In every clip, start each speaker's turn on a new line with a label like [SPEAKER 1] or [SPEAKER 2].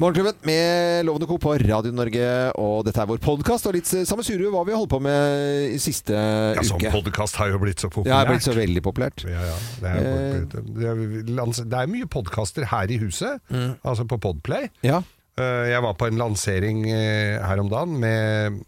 [SPEAKER 1] Morgenklubben med Lovende Co. på Radio Norge, og dette er vår podkast. Og litt sammensurium hva vi har holdt på med i siste
[SPEAKER 2] Ja, sånn
[SPEAKER 1] uke.
[SPEAKER 2] podkast har jo blitt så
[SPEAKER 1] Det har blitt
[SPEAKER 2] populært.
[SPEAKER 1] så veldig populært.
[SPEAKER 2] Ja, ja. Det, er,
[SPEAKER 1] Eh,
[SPEAKER 2] jo blitt- det, er, lans- det er mye podkaster her i huset,
[SPEAKER 1] Mm.
[SPEAKER 2] altså på Podplay.
[SPEAKER 1] Ja.
[SPEAKER 2] Eh, Jeg var på en lansering eh, her om dagen med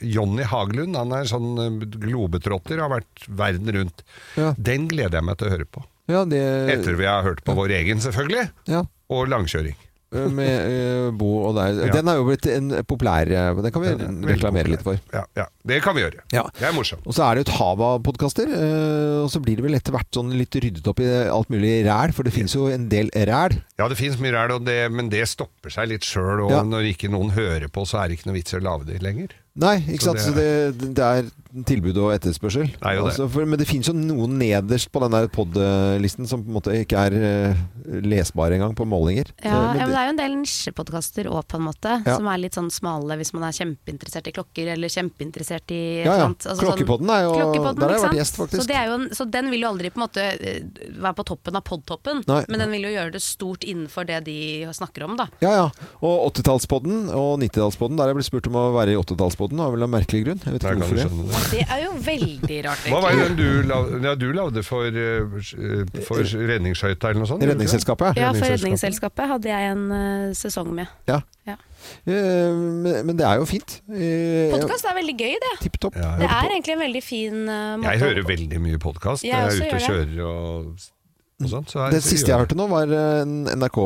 [SPEAKER 2] Jonny Haglund. Han er sånn eh, globetrotter og har vært verden rundt.
[SPEAKER 1] Ja.
[SPEAKER 2] Den gleder jeg meg til å høre på.
[SPEAKER 1] ja, det
[SPEAKER 2] Etter vi har hørt på vår egen, selvfølgelig,
[SPEAKER 1] ja.
[SPEAKER 2] og langkjøring.
[SPEAKER 1] Med eh, Bo og deg.
[SPEAKER 2] Ja.
[SPEAKER 1] Den er jo blitt en populær eh, Den kan vi
[SPEAKER 2] Veldig
[SPEAKER 1] reklamere litt for.
[SPEAKER 2] populær. Ja, ja. Det kan vi gjøre.
[SPEAKER 1] Ja.
[SPEAKER 2] Det er morsomt.
[SPEAKER 1] Og så er det jo et hav av podkaster, eh, og så blir det vel etter hvert sånn litt ryddet opp i alt mulig ræl, for det fins jo en del ræl.
[SPEAKER 2] Ja, det fins mye ræl, og det- men det stopper seg litt sjøl. Og
[SPEAKER 1] Ja.
[SPEAKER 2] når ikke noen hører på, så er det ikke noe vits i å lage det lenger.
[SPEAKER 1] Nei, ikke
[SPEAKER 2] Så
[SPEAKER 1] sant.
[SPEAKER 2] det-
[SPEAKER 1] Så det, det er tilbud og etterspørsel.
[SPEAKER 2] er jo det.
[SPEAKER 1] Altså, for, men det finnes jo noen nederst på den der pod-listen som på en måte ikke er eh, lesbare engang på målinger.
[SPEAKER 3] Ja,
[SPEAKER 1] Så- Eh, men
[SPEAKER 3] ja, men det
[SPEAKER 1] det-
[SPEAKER 3] er jo en del nisjepodkaster òg, på en måte.
[SPEAKER 1] Ja.
[SPEAKER 3] Som er litt sånn smale hvis man er kjempeinteressert i klokker, eller kjempeinteressert i
[SPEAKER 1] ja, ja.
[SPEAKER 3] sant? Altså sånn-
[SPEAKER 1] Klokkepodden er jo
[SPEAKER 3] Klokkepodden,
[SPEAKER 1] Der har jeg
[SPEAKER 3] ikke
[SPEAKER 1] vært gjest,
[SPEAKER 3] sant?
[SPEAKER 1] faktisk.
[SPEAKER 3] Så, det er jo en, så den vil jo aldri på en måte eh, være på toppen av podtoppen,
[SPEAKER 1] Nei.
[SPEAKER 3] men den vil jo gjøre det stort innenfor det de snakker om, da.
[SPEAKER 1] Ja, ja. Og 80-tallspodden og 90-tallspodden. Der har jeg blitt spurt om å være i 80-tallspodden, av en eller annen merkelig grunn. Jeg vet
[SPEAKER 2] Der
[SPEAKER 1] ikke
[SPEAKER 2] kan
[SPEAKER 1] hvorfor
[SPEAKER 2] du
[SPEAKER 1] det.
[SPEAKER 2] skjønne det.
[SPEAKER 3] Det er jo veldig rart,
[SPEAKER 2] Hva var
[SPEAKER 3] egentlig.
[SPEAKER 2] det den du, la, ja, du lagde for, eh, for redningsskøyta eller noe sånt?
[SPEAKER 1] Redningsselskapet.
[SPEAKER 3] Ja, for Redningsselskapet hadde jeg en eh, sesong med.
[SPEAKER 1] Ja.
[SPEAKER 3] Ja.
[SPEAKER 1] Eh, Men men det er jo fint. Eh,
[SPEAKER 3] Podkast er veldig gøy, det.
[SPEAKER 1] Tipp topp.
[SPEAKER 2] Ja,
[SPEAKER 3] Det
[SPEAKER 2] jeg,
[SPEAKER 3] er egentlig en veldig fin eh, måte
[SPEAKER 2] jeg
[SPEAKER 3] å-
[SPEAKER 2] hører veldig mye podkast.
[SPEAKER 3] Jeg
[SPEAKER 2] Jeg, er
[SPEAKER 3] også
[SPEAKER 2] ute og
[SPEAKER 3] gjør
[SPEAKER 2] kjører og, og sånt. Så er-
[SPEAKER 1] Det siste jeg hørte nå, var eh, en NRK,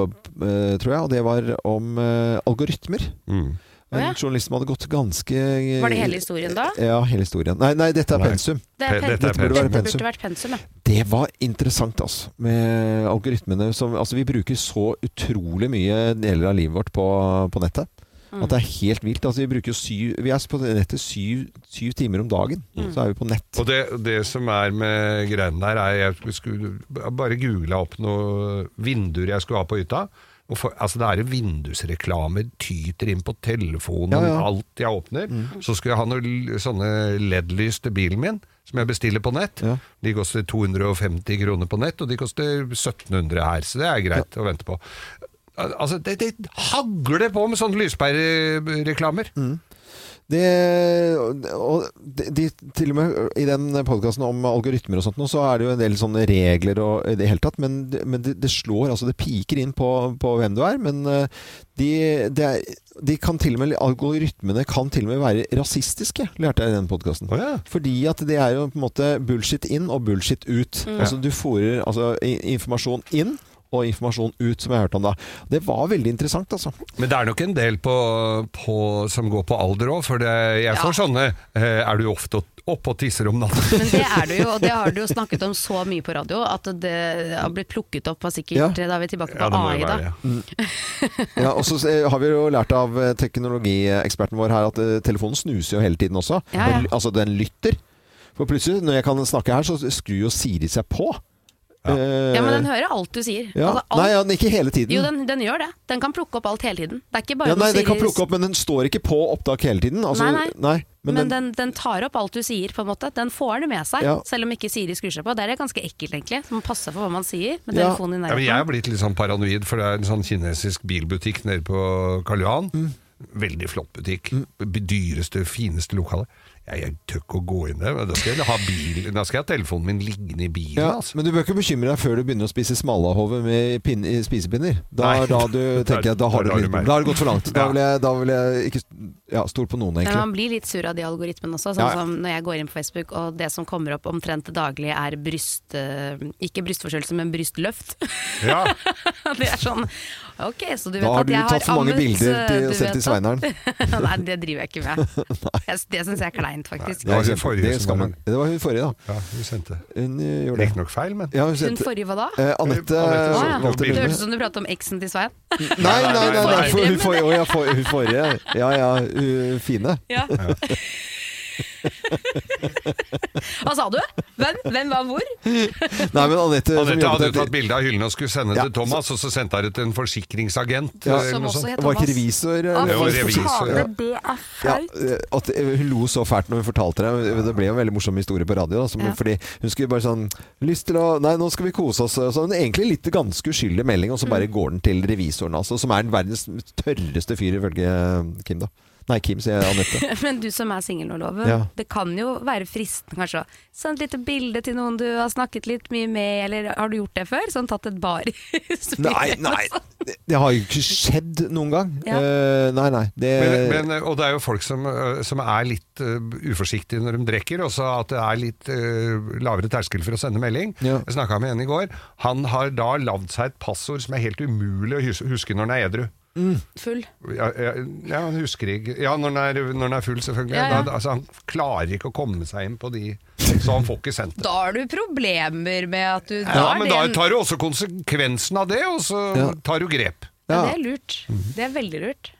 [SPEAKER 1] eh, tror jeg, og det var om eh, algoritmer.
[SPEAKER 2] Mm.
[SPEAKER 3] Å,
[SPEAKER 1] En
[SPEAKER 3] ja.
[SPEAKER 1] journalist som hadde gått ganske
[SPEAKER 3] Var det hele historien da?
[SPEAKER 1] Ja, hele historien. Nei, nei dette er
[SPEAKER 2] Nei.
[SPEAKER 1] pensum.
[SPEAKER 3] Det
[SPEAKER 2] Pe-
[SPEAKER 3] er
[SPEAKER 2] dette
[SPEAKER 3] pen-
[SPEAKER 2] er
[SPEAKER 3] Dette
[SPEAKER 2] pensum.
[SPEAKER 3] burde vært pensum, ja.
[SPEAKER 1] Det var interessant, altså. Med algoritmene som Altså, vi bruker så utrolig mye deler av livet vårt på, på nettet.
[SPEAKER 3] Mm.
[SPEAKER 1] At det er helt vilt. Altså, vi bruker jo syv Vi er på nettet syv, syv timer om dagen.
[SPEAKER 2] Mm.
[SPEAKER 1] Så er vi på nett.
[SPEAKER 2] Og det, det som er med greiene der, er jeg skulle jeg bare googla opp noen vinduer jeg skulle ha på hytta. Og for, altså Det er vindusreklamer, tyter inn på telefonen,
[SPEAKER 1] Ja, ja.
[SPEAKER 2] alt jeg åpner.
[SPEAKER 1] Mm.
[SPEAKER 2] Så skulle jeg ha noen l- sånne LED-lys til bilen min, som jeg bestiller på nett.
[SPEAKER 1] Ja.
[SPEAKER 2] De koster 250 kroner på nett, og de koster 1700 her, så det er greit å vente på. Al- Altså, det, det hagler på med sånne lyspærereklamer.
[SPEAKER 1] Det, og de, de, til og med i den podkasten om algoritmer og sånt, nå, så er det jo en del sånne regler og i det hele tatt, men, men det, det slår altså Det piker inn på, på hvem du er, men eh, de, det er, de kan til og med Algoritmene kan til og med være rasistiske, lærte jeg i den podkasten.
[SPEAKER 2] Å ja.
[SPEAKER 1] Fordi at det er jo på en måte bullshit inn og bullshit ut. Altså du fôrer altså, i- informasjon inn og informasjon ut, som jeg har hørt om da. Det var veldig interessant, altså.
[SPEAKER 2] Men det er nok en del på, på, som går på alder òg, for det, jeg får sånne eh, Er du ofte oppe og tisser om natten?
[SPEAKER 3] Men det er du jo, og det har du jo snakket om så mye på radio, at det har blitt plukket opp av sikkert eh,
[SPEAKER 1] Ja.
[SPEAKER 3] Da er vi tilbake på
[SPEAKER 2] Ja, det må
[SPEAKER 3] AI,
[SPEAKER 2] jo
[SPEAKER 3] da.
[SPEAKER 2] være det.
[SPEAKER 1] Mm. Ja, og så eh, har vi jo lært av eh, teknologieksperten vår her at eh, telefonen snuser jo hele tiden også.
[SPEAKER 3] Ja, ja.
[SPEAKER 1] Den- Altså den lytter. For plutselig, når jeg kan snakke her, så skrur jo Siri seg på. Ja,
[SPEAKER 3] Ja, men den hører alt du sier.
[SPEAKER 1] ja.
[SPEAKER 3] Altså, alt,
[SPEAKER 1] Nei, ja, den ikke hele tiden.
[SPEAKER 3] Jo, den, den gjør det. Den kan plukke opp alt hele tiden. Det er ikke bare
[SPEAKER 1] ja, nei,
[SPEAKER 3] noe
[SPEAKER 1] den kan
[SPEAKER 3] Siri-
[SPEAKER 1] plukke opp, men den står ikke på opptak hele tiden. Altså,
[SPEAKER 3] Nei, nei.
[SPEAKER 1] men, den,
[SPEAKER 3] Men, den, den tar opp alt du sier, på en måte. Den får det med seg,
[SPEAKER 1] Ja.
[SPEAKER 3] selv om ikke Siri skrur seg på. Det er ganske ekkelt, egentlig. Så man passer for hva man sier med
[SPEAKER 1] Ja.
[SPEAKER 3] telefonen i
[SPEAKER 2] Ja, men jeg
[SPEAKER 3] nærheten.
[SPEAKER 2] har blitt litt sånn paranoid, for det er en sånn kinesisk bilbutikk nede på Karl Johan.
[SPEAKER 1] Mm.
[SPEAKER 2] Veldig flott butikk. Dyreste, fineste lokale. Jeg, jeg tør ikke å gå inn der. men Da skal jeg ha bil, da skal jeg ha telefonen min liggende i bilen.
[SPEAKER 1] ja,
[SPEAKER 2] altså.
[SPEAKER 1] men du bør ikke bekymre deg før du begynner å spise smalahove med pin, i spisepinner. Da,
[SPEAKER 2] Nei.
[SPEAKER 1] da du tenker jeg, da har
[SPEAKER 2] Da
[SPEAKER 1] du
[SPEAKER 2] lar
[SPEAKER 1] et
[SPEAKER 2] du
[SPEAKER 1] lite-
[SPEAKER 2] meg.
[SPEAKER 1] Da har det gått for langt. Da
[SPEAKER 2] Ja.
[SPEAKER 1] vil jeg, da vil jeg ikke ja, stole på noen,
[SPEAKER 3] Men
[SPEAKER 1] egentlig.
[SPEAKER 3] man blir litt sur av de algoritmene også, sånn
[SPEAKER 1] Ja, ja.
[SPEAKER 3] som når jeg går inn på Facebook og det som kommer opp omtrent daglig er bryst... eh, Ikke brystforstørrelse, men brystløft.
[SPEAKER 2] Ja.
[SPEAKER 3] Det er sånn Ok, så du vet
[SPEAKER 1] Da har
[SPEAKER 3] at
[SPEAKER 1] du
[SPEAKER 3] jeg har
[SPEAKER 1] tatt for mange
[SPEAKER 3] ammet,
[SPEAKER 1] bilder til,
[SPEAKER 3] du
[SPEAKER 1] og sendt
[SPEAKER 3] vet
[SPEAKER 1] til Sveineren.
[SPEAKER 3] at- Nei, det driver jeg ikke med. Jeg- Det syns jeg er kleint, faktisk.
[SPEAKER 2] Nei,
[SPEAKER 1] Det,
[SPEAKER 2] var
[SPEAKER 1] er
[SPEAKER 2] hun forrige
[SPEAKER 1] det,
[SPEAKER 2] som
[SPEAKER 1] skal
[SPEAKER 2] var
[SPEAKER 1] man, det var hun forrige, da.
[SPEAKER 2] ja, du sendte.
[SPEAKER 1] Hun ø, gjorde det.
[SPEAKER 2] Riktignok feil, men
[SPEAKER 1] Ja, hun
[SPEAKER 3] Hun
[SPEAKER 1] sendte
[SPEAKER 3] forrige hva da?
[SPEAKER 1] eh,
[SPEAKER 2] Anette
[SPEAKER 1] Anette
[SPEAKER 3] Å
[SPEAKER 2] så-
[SPEAKER 3] ja.
[SPEAKER 2] valgte
[SPEAKER 1] valgte
[SPEAKER 3] Det
[SPEAKER 2] bildet.
[SPEAKER 3] hørtes ut
[SPEAKER 1] bildet.
[SPEAKER 3] som du pratet om eksen til Svein.
[SPEAKER 1] Nei, nei, nei, nei,
[SPEAKER 3] Forrige
[SPEAKER 1] for hun forrige.
[SPEAKER 3] drømmen.
[SPEAKER 1] Å, ja, for, hun forrige. Ja ja, hun fine.
[SPEAKER 3] Ja.
[SPEAKER 4] Hva sa du? Hvem? Hvem var hvor?
[SPEAKER 1] Nei, men Anette som
[SPEAKER 2] Anette hadde
[SPEAKER 1] jobbet
[SPEAKER 2] jo tatt
[SPEAKER 1] der,
[SPEAKER 2] bilde av hyllen og skulle sende
[SPEAKER 1] Ja,
[SPEAKER 2] til Thomas, og så sendte hun det til en forsikringsagent. eh,
[SPEAKER 1] Ja.
[SPEAKER 2] eller
[SPEAKER 4] Som
[SPEAKER 2] noe
[SPEAKER 4] også
[SPEAKER 2] sånt.
[SPEAKER 4] het
[SPEAKER 1] var ikke
[SPEAKER 4] Thomas.
[SPEAKER 1] revisor. eh,
[SPEAKER 3] Å,
[SPEAKER 1] eller-
[SPEAKER 2] jo,
[SPEAKER 3] fy
[SPEAKER 2] revisor,
[SPEAKER 3] fader,
[SPEAKER 2] ja.
[SPEAKER 3] det er
[SPEAKER 1] Ja,
[SPEAKER 3] flaut.
[SPEAKER 1] eh, at eh, Hun lo så fælt når hun fortalte det. Det ble jo en veldig morsom historie på radio. Da, som,
[SPEAKER 4] Ja.
[SPEAKER 1] Fordi Hun skulle bare sånn Lyst til å Nei, nå skal vi kose oss. Så en egentlig litt ganske uskyldig melding, og så
[SPEAKER 4] Mm.
[SPEAKER 1] bare går den til revisoren, altså. Som er den verdens tørreste fyr, ifølge eh, Kim, da. Nei, Kim, sier jeg, Anette.
[SPEAKER 4] Men du som er singel nå, Loven.
[SPEAKER 1] Ja.
[SPEAKER 4] Det kan jo være fristende kanskje å sende et lite bilde til noen du har snakket litt mye med, eller har du gjort det før? Sånn tatt et bar
[SPEAKER 1] Nei, nei! Det, det har jo ikke skjedd noen gang.
[SPEAKER 4] altså. Ja.
[SPEAKER 1] Eh, nei, nei. Det,
[SPEAKER 2] Men, men, og det er jo folk som, øh, som er litt øh, uforsiktige når de drikker, og så at det er litt øh, lavere terskel for å sende melding.
[SPEAKER 1] Ja.
[SPEAKER 2] Jeg snakka med en i går. Han har da lagd seg et passord som er helt umulig å hus- huske når han er edru.
[SPEAKER 1] Mm.
[SPEAKER 4] Full.
[SPEAKER 2] Ja, ja, ja, han husker ikke Ja, når han er, når han er full, selvfølgelig.
[SPEAKER 4] Ja, ja.
[SPEAKER 2] Da, altså, han klarer ikke å komme seg inn på de, så han får ikke sendt det.
[SPEAKER 4] Da har du problemer med at du
[SPEAKER 2] Ja,
[SPEAKER 4] er
[SPEAKER 2] men
[SPEAKER 4] det
[SPEAKER 2] da
[SPEAKER 4] en-
[SPEAKER 2] tar du også konsekvensen av det, og så tar du grep.
[SPEAKER 4] ja. Det
[SPEAKER 1] ja. Mhm.
[SPEAKER 4] er lurt. Det er veldig lurt.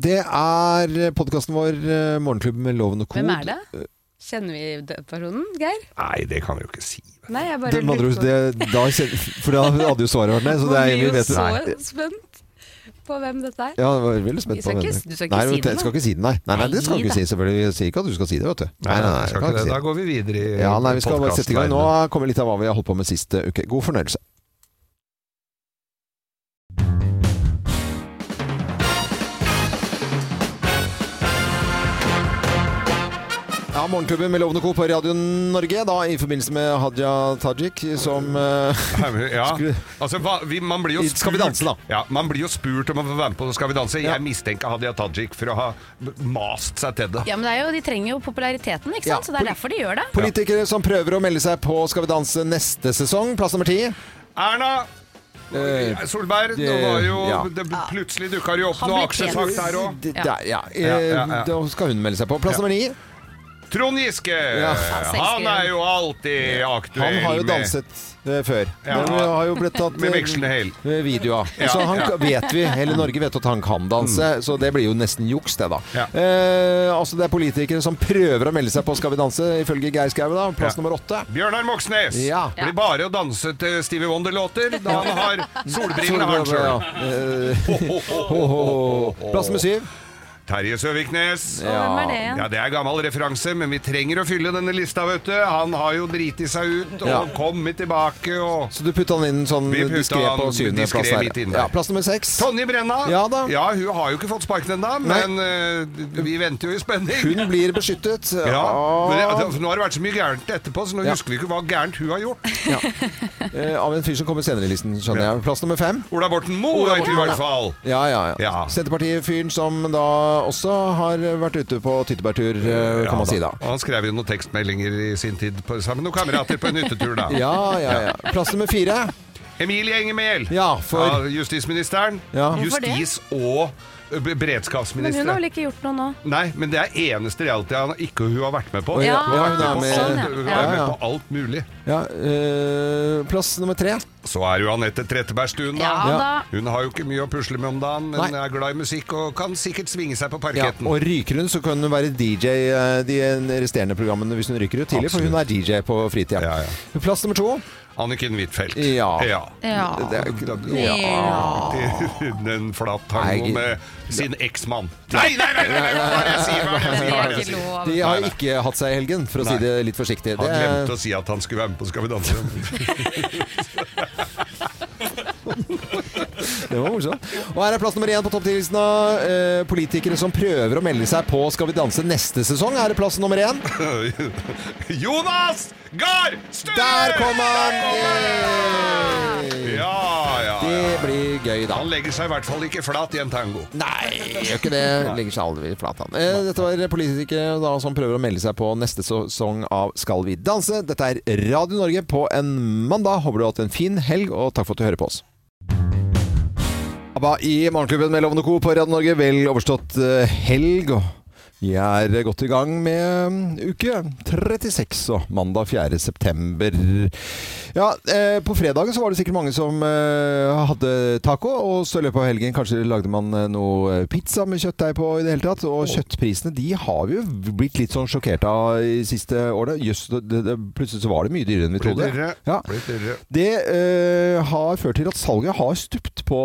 [SPEAKER 1] det er podkasten vår, eh, Morgenklubben med Loven og Kod.
[SPEAKER 4] Hvem er det? Kjenner vi den personen, Geir?
[SPEAKER 2] Nei, det kan vi jo ikke si.
[SPEAKER 4] Nei, jeg bare
[SPEAKER 1] Det, med andre
[SPEAKER 4] lurer
[SPEAKER 1] ord, det, da, kjen- for da hadde jo svaret vært nei. Så det er, vi
[SPEAKER 4] Man blir jo
[SPEAKER 1] vet,
[SPEAKER 4] så
[SPEAKER 1] Nei.
[SPEAKER 4] spent på hvem dette er.
[SPEAKER 1] Ja, jeg var veldig spent
[SPEAKER 4] Du skal
[SPEAKER 1] på
[SPEAKER 4] ikke-
[SPEAKER 1] det.
[SPEAKER 4] du skal ikke
[SPEAKER 1] nei,
[SPEAKER 4] si
[SPEAKER 1] vet du,
[SPEAKER 4] det
[SPEAKER 1] jeg
[SPEAKER 4] nå.
[SPEAKER 1] skal ikke si det, nei. Nei, nei, det skal du
[SPEAKER 4] Nei,
[SPEAKER 1] ikke si, selvfølgelig. Jeg sier ikke at du skal si det, vet du. Nei, nei, nei, jeg
[SPEAKER 2] Eh, skal ikke det. Da
[SPEAKER 1] kan ikke si det.
[SPEAKER 2] går vi videre i
[SPEAKER 1] Ja, nei, vi skal bare sette i gang. Nå
[SPEAKER 2] podcastverdenen.
[SPEAKER 1] kommer litt av hva vi har holdt på med sist eh, uke. God fornøyelse. Ja, Morgenklubben med Lovende Co. på Radio Norge, da i forbindelse med Hadia Tajik, som eh,
[SPEAKER 2] Ja,
[SPEAKER 1] Skulle-
[SPEAKER 2] altså, hva, vi, man blir jo
[SPEAKER 1] I
[SPEAKER 2] spurt,
[SPEAKER 1] Skal vi danse, da.
[SPEAKER 2] Ja, man blir jo spurt om å få være med på Skal vi danse.
[SPEAKER 1] Ja.
[SPEAKER 2] Jeg mistenker Hadia Tajik for å ha mast seg til det.
[SPEAKER 4] Ja, men det er jo, De trenger jo populariteten, ikke
[SPEAKER 1] Ja.
[SPEAKER 4] sant? så det er derfor de gjør det.
[SPEAKER 1] Politikere som prøver å melde seg på Skal vi danse neste sesong, plass nummer ti.
[SPEAKER 2] Erna!
[SPEAKER 1] Eh,
[SPEAKER 2] Solberg,
[SPEAKER 1] det-
[SPEAKER 2] nå var jo,
[SPEAKER 1] ja.
[SPEAKER 2] det plutselig dukka det jo opp
[SPEAKER 4] Han
[SPEAKER 2] noe
[SPEAKER 4] ble pen.
[SPEAKER 2] aksjesak der òg.
[SPEAKER 1] Det-
[SPEAKER 4] Ja.
[SPEAKER 1] Der, ja. Eh,
[SPEAKER 2] Ja, ja, ja.
[SPEAKER 1] Da skal hun melde seg på. Plass
[SPEAKER 2] Ja.
[SPEAKER 1] nummer ni.
[SPEAKER 2] Trond Giske!
[SPEAKER 1] Ja.
[SPEAKER 2] Han er jo alltid aktuell
[SPEAKER 1] Han har jo
[SPEAKER 2] med-
[SPEAKER 1] danset eh, før.
[SPEAKER 2] Ja.
[SPEAKER 1] Men vi har jo blitt tatt
[SPEAKER 2] med
[SPEAKER 1] eh,
[SPEAKER 2] vekslende hell.
[SPEAKER 1] eh, video av.
[SPEAKER 2] Ja,
[SPEAKER 1] Så han
[SPEAKER 2] ja. Mm.
[SPEAKER 1] vet vi, hele Norge vet at han kan danse, så det blir jo nesten juks, det da.
[SPEAKER 2] Ja.
[SPEAKER 1] Eh, altså det er politikere som prøver å melde seg på Skal vi danse, ifølge Geir Skau, da. Plass
[SPEAKER 2] Ja.
[SPEAKER 1] nummer åtte.
[SPEAKER 2] Bjørnar Moxnes!
[SPEAKER 1] Ja.
[SPEAKER 2] Blir bare å danse til Stevie Wonder-låter. Da han har solbrillene, har han
[SPEAKER 1] Ja.
[SPEAKER 2] sjøl.
[SPEAKER 1] Eh, Plass nummer syv.
[SPEAKER 2] Terje Søviknes.
[SPEAKER 4] Og hvem er det igjen?
[SPEAKER 2] Ja, Det er gammel referanse, men vi trenger å fylle denne lista, vet du. Han har jo driti seg ut og
[SPEAKER 1] Ja.
[SPEAKER 2] kommet tilbake og
[SPEAKER 1] Så du putta han inn sånn
[SPEAKER 2] Vi putta
[SPEAKER 1] diskré på
[SPEAKER 2] han
[SPEAKER 1] syvendeplass
[SPEAKER 2] diskret
[SPEAKER 1] der.
[SPEAKER 2] midt inn der.
[SPEAKER 1] Ja, plass nummer seks.
[SPEAKER 2] Tonje Brenna,
[SPEAKER 1] Ja da.
[SPEAKER 2] hun har jo ikke fått sparken ennå, men eh, vi venter jo i spenning.
[SPEAKER 1] Hun blir beskyttet. eh,
[SPEAKER 2] ja.
[SPEAKER 1] av-
[SPEAKER 2] men det, altså, nå har det vært så mye gærent etterpå, så nå
[SPEAKER 1] Ja.
[SPEAKER 2] husker vi ikke hva gærent hun har gjort.
[SPEAKER 1] Eh, av en fyr som kommer senere i listen, skjønner jeg. Plass nummer fem.
[SPEAKER 2] Ola Borten Moe,
[SPEAKER 1] Ola
[SPEAKER 2] vet vi i
[SPEAKER 1] Borten
[SPEAKER 2] hvert fall.
[SPEAKER 1] Ja, ja, ja.
[SPEAKER 2] Ja.
[SPEAKER 1] Senterpartifyren som da også har vært ute på tyttebærtur, eh, kan man si da.
[SPEAKER 2] Og han skrev jo noen tekstmeldinger i sin tid på, sammen med noen kamerater på en hyttetur, da.
[SPEAKER 1] Ja, ja, ja. Plass nummer fire.
[SPEAKER 2] Emilie Engemel,
[SPEAKER 1] Ja, for
[SPEAKER 2] ja, justisministeren.
[SPEAKER 1] Ja.
[SPEAKER 4] Hvorfor det?
[SPEAKER 2] Justis- og ø,
[SPEAKER 4] Men
[SPEAKER 2] be-
[SPEAKER 4] hun har
[SPEAKER 2] beredskapsministeren.
[SPEAKER 4] vel ikke gjort noe nå?
[SPEAKER 2] Nei, men det er eneste reality han ikke hun har vært med på.
[SPEAKER 1] Å,
[SPEAKER 4] ja.
[SPEAKER 2] Hun har vært
[SPEAKER 1] Ja,
[SPEAKER 2] med på
[SPEAKER 1] hun er
[SPEAKER 2] sånn,
[SPEAKER 1] med.
[SPEAKER 2] Hun
[SPEAKER 1] Ja,
[SPEAKER 2] er med
[SPEAKER 1] ja.
[SPEAKER 2] på alt mulig.
[SPEAKER 1] ja, eh, Plass nummer tre.
[SPEAKER 2] Så er jo Anette Trettebergstuen, da.
[SPEAKER 4] Ja da.
[SPEAKER 2] Hun har jo ikke mye å pusle med om dagen, men
[SPEAKER 1] Nei.
[SPEAKER 2] er glad i musikk og kan sikkert svinge seg på
[SPEAKER 1] Ja,
[SPEAKER 2] parketten.
[SPEAKER 1] og ryker hun, så kan hun være DJ eh, de resterende programmene hvis hun ryker ut tidlig, for hun er DJ på fritida.
[SPEAKER 2] Ja, ja.
[SPEAKER 1] Plass nummer to.
[SPEAKER 2] Anniken Huitfeldt.
[SPEAKER 1] Ja.
[SPEAKER 2] ja.
[SPEAKER 4] Ja.
[SPEAKER 1] Det er-
[SPEAKER 2] Den flat
[SPEAKER 1] Nei,
[SPEAKER 2] tango med sin eksmann. Nei, nei, nei! nei, nei, nei, hva er det jeg sier? Hva er det jeg
[SPEAKER 4] Det
[SPEAKER 2] sier? Hva er
[SPEAKER 4] er
[SPEAKER 2] det jeg
[SPEAKER 4] ikke
[SPEAKER 2] sier?
[SPEAKER 4] lov.
[SPEAKER 1] De har
[SPEAKER 2] Nei, nei.
[SPEAKER 1] ikke hatt seg i helgen, for å
[SPEAKER 2] Nei.
[SPEAKER 1] si det litt forsiktig.
[SPEAKER 2] Han
[SPEAKER 1] Det er-
[SPEAKER 2] glemte å si at han skulle være med på Skal vi danse.
[SPEAKER 1] Det var morsomt. Og her er plass nummer én på topptillitsen av eh, politikere som prøver å melde seg på Skal vi danse neste sesong. Her er plass nummer én.
[SPEAKER 2] Jonas Gahr Støre!
[SPEAKER 1] Der kom han! Eh,
[SPEAKER 2] Ja,
[SPEAKER 1] Yay!
[SPEAKER 2] ja,
[SPEAKER 1] Det
[SPEAKER 2] ja.
[SPEAKER 1] blir gøy, da.
[SPEAKER 2] Han legger seg i hvert fall ikke flat i en tango.
[SPEAKER 1] Nei, gjør ikke det. Legger seg aldri flat, han. Eh, dette var politikere da, som prøver å melde seg på neste sesong av Skal vi danse. Dette er Radio Norge på en mandag. Håper du har hatt en fin helg, og takk for at du hører på oss. ABBA i Morgenklubben med Lovende Co. på Radio Norge. Vel overstått eh, helg. og Vi er godt i gang med mm, uke 36 og mandag 4. september. Ja, eh, på fredagen så var det sikkert mange som eh, hadde taco, og så i løpet av helgen kanskje lagde man eh, noe pizza med kjøttdeig på i det hele tatt. Og kjøttprisene de har vi jo blitt litt sånn sjokkert av de siste årene. Jøss, det- det- det- plutselig så var det mye dyrere enn vi
[SPEAKER 2] Blir
[SPEAKER 1] trodde.
[SPEAKER 2] dyrere.
[SPEAKER 1] Ja.
[SPEAKER 2] Blir dyrere.
[SPEAKER 1] Det eh, har ført til at salget har stupt på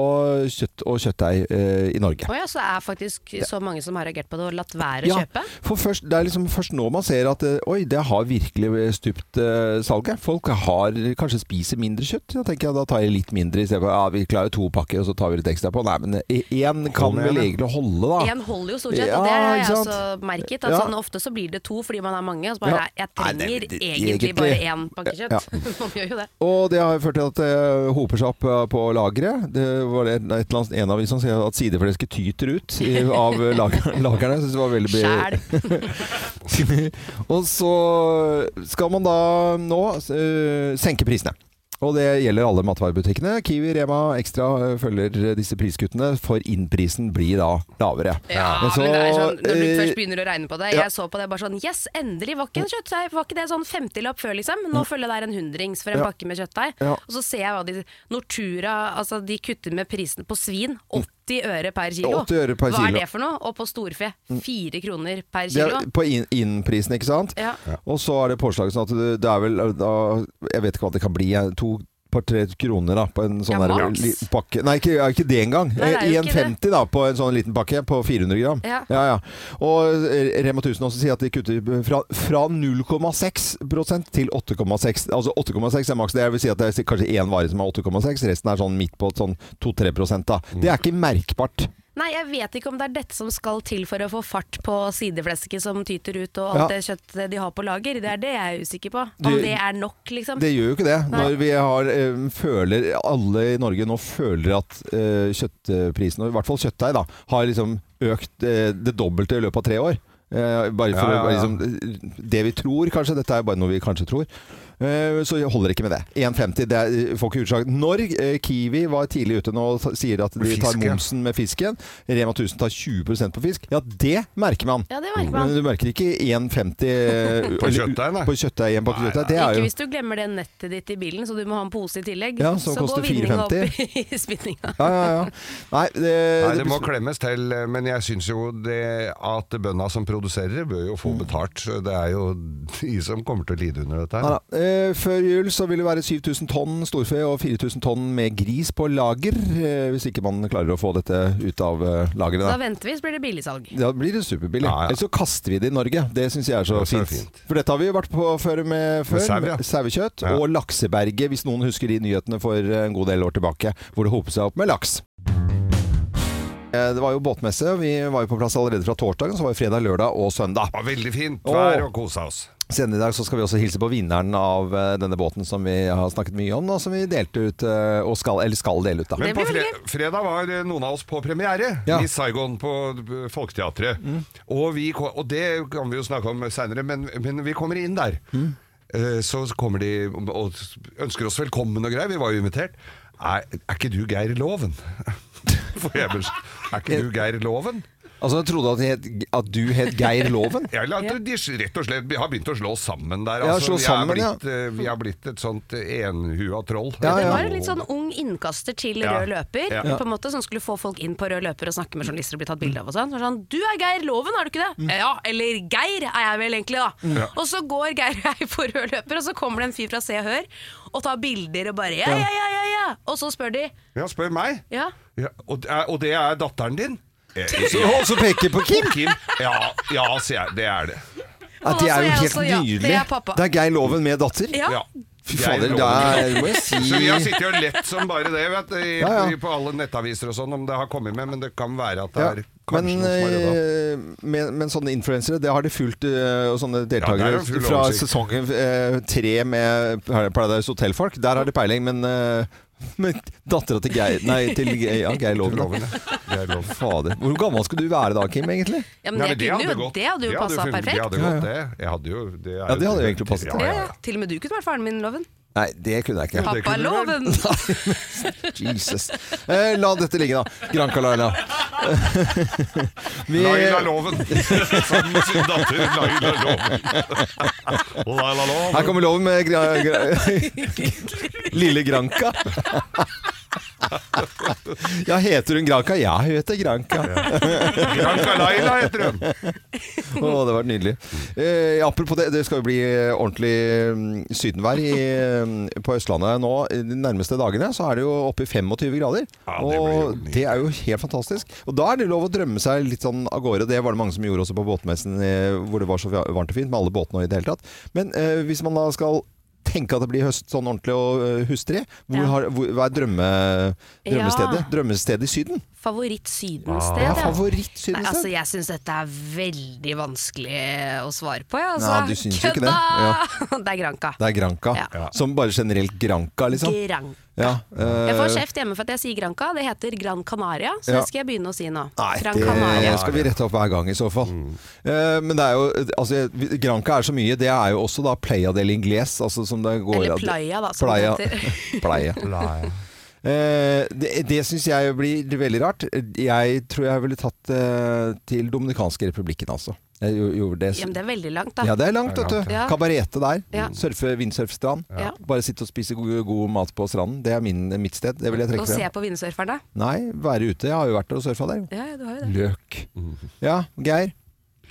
[SPEAKER 1] kjøtt og kjøttdeig eh, i Norge.
[SPEAKER 3] Å ja, så er faktisk så mange som har reagert på det og latt være å
[SPEAKER 1] Ja,
[SPEAKER 3] kjøpe?
[SPEAKER 1] for først, det er liksom først nå man ser at eh, oi, det har virkelig stupt eh, salget. Folk har kanskje spiser mindre kjøtt. Da tenker jeg da tar jeg litt mindre istedenfor ja, vi klarer to pakker og så tar vi litt ekstra på. Nei, men én kan
[SPEAKER 2] Hold igjen,
[SPEAKER 1] vel
[SPEAKER 2] ja.
[SPEAKER 1] egentlig holde, da.
[SPEAKER 3] Én holder jo stort
[SPEAKER 1] Ah.
[SPEAKER 3] sett,
[SPEAKER 1] Ja,
[SPEAKER 3] og det har jeg
[SPEAKER 1] ikke sant?
[SPEAKER 3] også merket. At
[SPEAKER 1] Ja.
[SPEAKER 3] sånn, ofte så blir det to fordi man er mange, og så bare
[SPEAKER 1] Ja.
[SPEAKER 3] Jeg
[SPEAKER 1] Nei, det er
[SPEAKER 3] trenger
[SPEAKER 1] vel det-
[SPEAKER 3] egentlig,
[SPEAKER 1] egentlig-
[SPEAKER 3] bare én pakke kjøtt.
[SPEAKER 1] Ja.
[SPEAKER 3] man gjør jo det.
[SPEAKER 1] Og det har ført til at det hoper seg opp eh, på lageret. Det var det et eller annet, en avis som sier at sideflesket tyter ut i- av lager, lagerne. Jeg synes det var veldig be-
[SPEAKER 3] Sjæl.
[SPEAKER 1] Og så skal man da nå eh, senke prisene. Og det gjelder alle matvarebutikkene. Kiwi, Rema, Extra eh, følger disse priskuttene, for innprisen blir da lavere.
[SPEAKER 3] Ja,
[SPEAKER 1] Men så,
[SPEAKER 3] men det er sånn, når du
[SPEAKER 1] eh,
[SPEAKER 3] først begynner å regne på det
[SPEAKER 1] ja.
[SPEAKER 3] Jeg så på det bare sånn Yes, endelig! Var ikke, en kjøttdeig, var ikke det sånn 50-lapp før, liksom? Nå følger det der en hundrings for en
[SPEAKER 1] Mm. Ja.
[SPEAKER 3] pakke med kjøttdeig.
[SPEAKER 1] Ja.
[SPEAKER 3] Og så ser jeg hva de Nortura altså de kutter med prisen på svin. 80 øre per kilo.
[SPEAKER 1] 80 Mm. øre per
[SPEAKER 3] Hva
[SPEAKER 1] kilo. Mm.
[SPEAKER 3] er det for noe? Og på storfe 4 kroner per
[SPEAKER 1] Det er
[SPEAKER 3] kilo.
[SPEAKER 1] på inn- innprisen, ikke sant?
[SPEAKER 3] Ja.
[SPEAKER 1] Og så er det påslaget sånn at det, det er vel eh, da, Jeg vet ikke hva det kan bli. eh, To par-tre kroner da, på en sånn
[SPEAKER 3] Ja,
[SPEAKER 1] der,
[SPEAKER 3] maks.
[SPEAKER 1] li, pakke. Nei, ikke, ja, ikke det engang.
[SPEAKER 3] Nei, det er jo ikke
[SPEAKER 1] 1,50 da på en sånn liten pakke på 400 gram.
[SPEAKER 3] Ja.
[SPEAKER 1] Ja, ja. Og eh, Rema 1000 også sier at de kutter fra, fra 0,6 prosent til 8,6. Altså 8,6 er maks. Det vil si at det er kanskje én vare som er 8,6, resten er sånn midt på sånn 2-3 prosent, da. Det er ikke merkbart.
[SPEAKER 3] Nei, jeg vet ikke om det er dette som skal til for å få fart på sideflesket som tyter ut, og alt
[SPEAKER 1] Ja.
[SPEAKER 3] det kjøttet de har på lager. Det er det jeg er usikker på. Om
[SPEAKER 1] Du-
[SPEAKER 3] det er nok, liksom.
[SPEAKER 1] Det gjør jo ikke det.
[SPEAKER 3] Nei.
[SPEAKER 1] Når vi har, eh, føler, alle i Norge nå føler at eh, kjøttprisen, og i hvert fall kjøttdeig, da, har liksom økt eh, det dobbelte i løpet av tre år. Eh, bare
[SPEAKER 2] Ja,
[SPEAKER 1] for
[SPEAKER 2] ja,
[SPEAKER 1] å-
[SPEAKER 2] ja.
[SPEAKER 1] Liksom, Det vi tror, kanskje. Dette er bare noe vi kanskje tror. Eh, så jeg holder ikke med det. 1,50 det er, får ikke utslag. Når eh, Kiwi var tidlig ute nå og sa- sier at de tar
[SPEAKER 2] Fisken.
[SPEAKER 1] momsen med fisken, Rema 1000 tar 20 på fisk, ja, det merker man.
[SPEAKER 3] Ja, det merker
[SPEAKER 1] Men
[SPEAKER 3] man.
[SPEAKER 1] du merker ikke 1,50 eh,
[SPEAKER 2] På
[SPEAKER 1] eller-
[SPEAKER 2] kjøttdeig, nei.
[SPEAKER 1] På kjøttdeig, en pakke
[SPEAKER 2] Nei,
[SPEAKER 1] kjøttdeig. Det er
[SPEAKER 3] Ikke
[SPEAKER 1] jo
[SPEAKER 3] hvis du glemmer det nettet ditt i bilen, så du må ha en pose i tillegg.
[SPEAKER 1] Ja, som koster
[SPEAKER 3] går vinninga opp i spinninga.
[SPEAKER 1] Ja, ja, ja. Nei, det,
[SPEAKER 2] Nei, det må
[SPEAKER 1] blir-
[SPEAKER 2] klemmes til, men jeg syns jo det at bøndene som produserer, bør jo
[SPEAKER 1] Mm.
[SPEAKER 2] få betalt. Det er jo de som kommer til å lide under dette.
[SPEAKER 1] Nei
[SPEAKER 2] her.
[SPEAKER 1] da. Eh, før jul så vil det være 7000 tonn storfe og 4000 tonn med gris på lager, eh, hvis ikke man klarer å få dette ut av eh, lageret.
[SPEAKER 3] Da
[SPEAKER 1] Da.
[SPEAKER 3] venter vi, så blir det billigsalg.
[SPEAKER 1] Da blir det superbillig.
[SPEAKER 2] Ja, ja.
[SPEAKER 1] Eller så kaster vi det i Norge. Det syns jeg er så
[SPEAKER 2] Det synes jeg er
[SPEAKER 1] fint.
[SPEAKER 2] fint.
[SPEAKER 1] For dette har vi jo vært på før med, før,
[SPEAKER 2] sau, ja.
[SPEAKER 1] med sauekjøtt.
[SPEAKER 2] Ja.
[SPEAKER 1] Og lakseberget, hvis noen husker de nyhetene for eh, en god del år tilbake, hvor det hopet seg opp med laks. Eh, Det var jo båtmesse. Vi var jo på plass allerede fra torsdagen, så var det fredag, lørdag og søndag.
[SPEAKER 2] Det var veldig fint
[SPEAKER 1] Åh.
[SPEAKER 2] vær og kosa oss.
[SPEAKER 1] Senere i dag så skal vi også hilse på vinneren av eh, denne båten som vi har snakket mye om, da, som vi delte ut, eh, og skal, eller skal dele ut. da.
[SPEAKER 2] Men
[SPEAKER 3] Det
[SPEAKER 2] på
[SPEAKER 3] blir
[SPEAKER 2] fre
[SPEAKER 3] veldig
[SPEAKER 2] fredag var eh, noen av oss på premiere
[SPEAKER 1] Ja.
[SPEAKER 2] i Saigon på eh, Folketeatret.
[SPEAKER 3] Mm.
[SPEAKER 2] Og, vi, ko- og det kan vi jo snakke om seinere, men, men vi kommer inn der.
[SPEAKER 3] Mm.
[SPEAKER 2] Eh, Så kommer de og ønsker oss velkommen og greier. Vi var jo invitert. Er, er ikke du Geir Loven? For jeg bes- er ikke du Geir Loven?
[SPEAKER 1] Altså, Jeg trodde at, det het, at du het Geir Loven.
[SPEAKER 2] Jeg la, de, rett og slett, vi har begynt å slå oss sammen der. Altså,
[SPEAKER 1] Ja, slå
[SPEAKER 2] vi,
[SPEAKER 1] sammen,
[SPEAKER 2] er
[SPEAKER 1] ja.
[SPEAKER 2] blitt, eh, vi har blitt et sånt enhua troll.
[SPEAKER 1] Ja,
[SPEAKER 3] Det
[SPEAKER 1] ja.
[SPEAKER 3] var en litt sånn ung innkaster til
[SPEAKER 2] Ja.
[SPEAKER 3] rød løper,
[SPEAKER 2] Ja.
[SPEAKER 3] på en måte, som skulle få folk inn på rød løper og snakke med journalister og bli tatt bilde av og sånn. Så var det sånn, du er Geir Loven, er du ikke det? Ja, eller Geir er jeg vel egentlig, da.
[SPEAKER 2] Ja.
[SPEAKER 3] Og så går Geir og jeg på rød løper, og så kommer det en fyr fra Se og Hør og tar bilder og bare ja, ja, ja, ja, ja. Og så spør de
[SPEAKER 2] Ja, spør meg.
[SPEAKER 3] ja.
[SPEAKER 2] Ja, og, det er- og det er datteren din? Eh,
[SPEAKER 1] Så, og så peker jeg på Kim!
[SPEAKER 2] Kim? Ja, ja, sier jeg. Det er det.
[SPEAKER 1] At det
[SPEAKER 3] Og
[SPEAKER 1] er
[SPEAKER 3] så
[SPEAKER 1] jo
[SPEAKER 3] Altså, jeg
[SPEAKER 1] helt
[SPEAKER 3] også, ja.
[SPEAKER 1] nydelig.
[SPEAKER 3] Det er pappa.
[SPEAKER 1] Det er Geir Loven med datter.
[SPEAKER 3] Ja.
[SPEAKER 2] Ja.
[SPEAKER 1] Fy
[SPEAKER 2] Geir
[SPEAKER 1] fader,
[SPEAKER 2] Loven.
[SPEAKER 1] det er, må jeg si
[SPEAKER 2] Så vi har sittet og lett som bare det, vet du. i-
[SPEAKER 1] Ja, ja.
[SPEAKER 2] i- På alle nettaviser og sånn, om det har kommet med. Men det kan være at det
[SPEAKER 1] Ja.
[SPEAKER 2] er
[SPEAKER 1] Men,
[SPEAKER 2] kanskje noe som er rydda opp.
[SPEAKER 1] eh, men, men sånne influensere, det har de fulgt, eh, og sånne
[SPEAKER 2] Ja,
[SPEAKER 1] deltakere
[SPEAKER 2] det er jo full
[SPEAKER 1] fra
[SPEAKER 2] oversikt.
[SPEAKER 1] sesongen eh, tre med Paradise Hotel-folk. Der har de peiling, men, eh, men dattera til Geir Nei, til Geir, ja,
[SPEAKER 2] Til
[SPEAKER 1] Geir Loven. da.
[SPEAKER 2] loven, ja. Det er lov.
[SPEAKER 1] Fader. Hvor gammel skal du være da, Kim, egentlig?
[SPEAKER 3] ja, men,
[SPEAKER 2] Nei,
[SPEAKER 3] det, kunne jo, det hadde jo passa
[SPEAKER 2] funnet-
[SPEAKER 3] perfekt.
[SPEAKER 2] Det hadde gått, det. Jeg hadde jo, det er
[SPEAKER 1] Ja, det
[SPEAKER 2] jo-
[SPEAKER 1] hadde jo egentlig passet.
[SPEAKER 2] Ja,
[SPEAKER 3] Ja,
[SPEAKER 2] ja, ja.
[SPEAKER 3] ja. Til og med du kunne vært faren min, Loven.
[SPEAKER 1] Nei, det kunne jeg ikke.
[SPEAKER 2] det
[SPEAKER 3] Pappa
[SPEAKER 2] kunne du vel.
[SPEAKER 3] Loven!
[SPEAKER 1] Jesus. Eh, la dette ligge, da. Granca Laila. Vi,
[SPEAKER 2] Laila-loven! Som sin datter Laila-loven. Laila-loven.
[SPEAKER 1] her kommer loven med gra, gra, Lille Granka. ja, heter hun Granka? Ja, hun heter Granka.
[SPEAKER 2] Granca Laila heter hun.
[SPEAKER 1] Å, det var nydelig. Eh, apropos det, det skal jo bli eh, ordentlig mm, sydenvær i, eh, på Østlandet nå. De nærmeste dagene så er det jo oppe i 25 grader.
[SPEAKER 2] Ja, det blir jo
[SPEAKER 1] og
[SPEAKER 2] nydelig.
[SPEAKER 1] det er jo helt fantastisk. Og da er det lov å drømme seg litt sånn av gårde. Det var det mange som gjorde også på båtmessen eh, hvor det var så varmt og fint med alle båtene og i det hele tatt. Men eh, hvis man da skal tenke at det blir høst sånn ordentlig og eh, hustrig, hvor
[SPEAKER 4] Ja.
[SPEAKER 1] har, hvor, hva er drømme, drømmestedet?
[SPEAKER 4] Ja.
[SPEAKER 1] Drømmestedet i Syden?
[SPEAKER 4] Favoritt sydensted?
[SPEAKER 1] Ja,
[SPEAKER 4] ja. Nei,
[SPEAKER 1] favoritt-sydenstedet.
[SPEAKER 4] altså, jeg syns dette er veldig vanskelig å svare på. Ja, altså.
[SPEAKER 1] Nei, du syns jo ikke det.
[SPEAKER 4] Kødda! Det er Granka.
[SPEAKER 1] Det er Granka.
[SPEAKER 4] Ja.
[SPEAKER 1] Som bare generelt Granka, liksom.
[SPEAKER 4] Granka.
[SPEAKER 1] Ja,
[SPEAKER 4] Jeg får
[SPEAKER 1] eh,
[SPEAKER 4] kjeft hjemme for at jeg sier Granca. Det heter Gran Canaria, så
[SPEAKER 1] Ja.
[SPEAKER 4] det skal jeg begynne å si nå.
[SPEAKER 1] Nei,
[SPEAKER 4] Gran Canaria.
[SPEAKER 1] det skal vi rette opp hver gang i så fall. Eh, men det er jo altså, vi- Granca er så mye. Det er jo også da Playa del Ingles. Altså, som det går,
[SPEAKER 4] Eller Playa, da, som
[SPEAKER 1] Playa.
[SPEAKER 4] det heter.
[SPEAKER 1] Playa. Eh, det det syns jeg blir veldig rart. Jeg tror jeg ville tatt eh, til Dominikanske republikken, altså. Jeg gjo- gjorde det.
[SPEAKER 4] Ja, men det er veldig langt, da.
[SPEAKER 1] Ja, det er langt, vet du.
[SPEAKER 4] ja. Ja.
[SPEAKER 1] Kabarete der.
[SPEAKER 4] Ja.
[SPEAKER 1] Surfe, vindsurfstrand.
[SPEAKER 4] Ja.
[SPEAKER 1] Bare sitte og spise god, god mat på stranden. Det er min, mitt sted. Det vil jeg trekke
[SPEAKER 4] Og se
[SPEAKER 1] frem.
[SPEAKER 4] på vindsurferne.
[SPEAKER 1] Nei, være ute. Jeg har jo vært der og surfa der. jo.
[SPEAKER 4] Ja, ja, du har jo det.
[SPEAKER 1] Løk. Ja, Geir.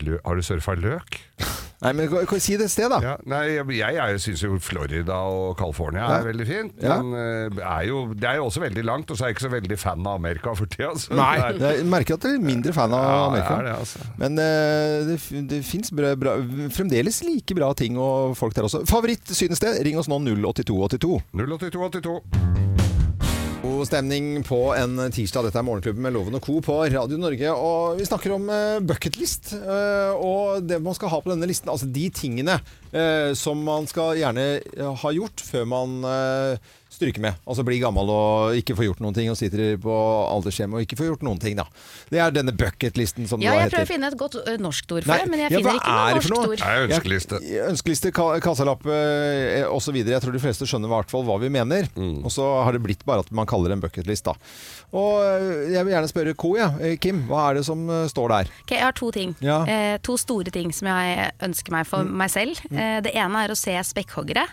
[SPEAKER 2] Lø har du surfa løk?
[SPEAKER 1] Nei, men kan- kan Si det et sted, da.
[SPEAKER 2] Ja. Nei, jeg, jeg syns jo Florida og California er veldig fint.
[SPEAKER 1] Ja.
[SPEAKER 2] Men eh, er jo, det er jo også veldig langt, og så er jeg ikke så veldig fan av Amerika for tida. så
[SPEAKER 1] Nei.
[SPEAKER 2] det er-
[SPEAKER 1] Jeg merker at du er mindre fan av
[SPEAKER 2] Ja, jeg
[SPEAKER 1] Amerika.
[SPEAKER 2] er det, altså.
[SPEAKER 1] Men eh, det, f- det fins bra, bra, fremdeles like bra ting og folk der også. Favoritt-sydenssted? Ring oss nå 08282.
[SPEAKER 2] 08282.
[SPEAKER 1] God stemning på en tirsdag. Dette er Morgenklubben med Loven og Co. på Radio Norge. Og vi snakker om eh, bucketlist eh, og det man skal ha på denne listen. Altså de tingene eh, som man skal gjerne eh, ha gjort før man eh, stryker med. Altså blir gammel og ikke får gjort noen ting, og sitter på aldershjemmet og ikke får gjort noen ting, da. Det er denne bucketlisten som
[SPEAKER 3] Ja,
[SPEAKER 1] det
[SPEAKER 3] jeg prøver å
[SPEAKER 1] heter.
[SPEAKER 3] finne et godt ø, norsk ord for
[SPEAKER 1] Nei,
[SPEAKER 3] det, men jeg
[SPEAKER 1] ja, hva
[SPEAKER 3] finner ikke
[SPEAKER 1] er
[SPEAKER 3] noe
[SPEAKER 1] det for
[SPEAKER 3] norsk
[SPEAKER 1] noe?
[SPEAKER 3] ord.
[SPEAKER 2] Det er ønskeliste.
[SPEAKER 1] Ja, Ønskeliste, ka- kassellapp eh, og så videre. Jeg tror de fleste skjønner i hvert fall hva vi mener.
[SPEAKER 2] Mm.
[SPEAKER 1] Og så har det blitt bare at man kaller det en bucketlist, da. Og eh, jeg vil gjerne spørre Co, ja. Eh, Kim, hva er det som eh, står der?
[SPEAKER 3] Ok, jeg har to ting.
[SPEAKER 1] Ja. Mm.
[SPEAKER 3] Eh, to store ting som jeg ønsker meg for meg selv. Eh, det ene er å se spekkhoggere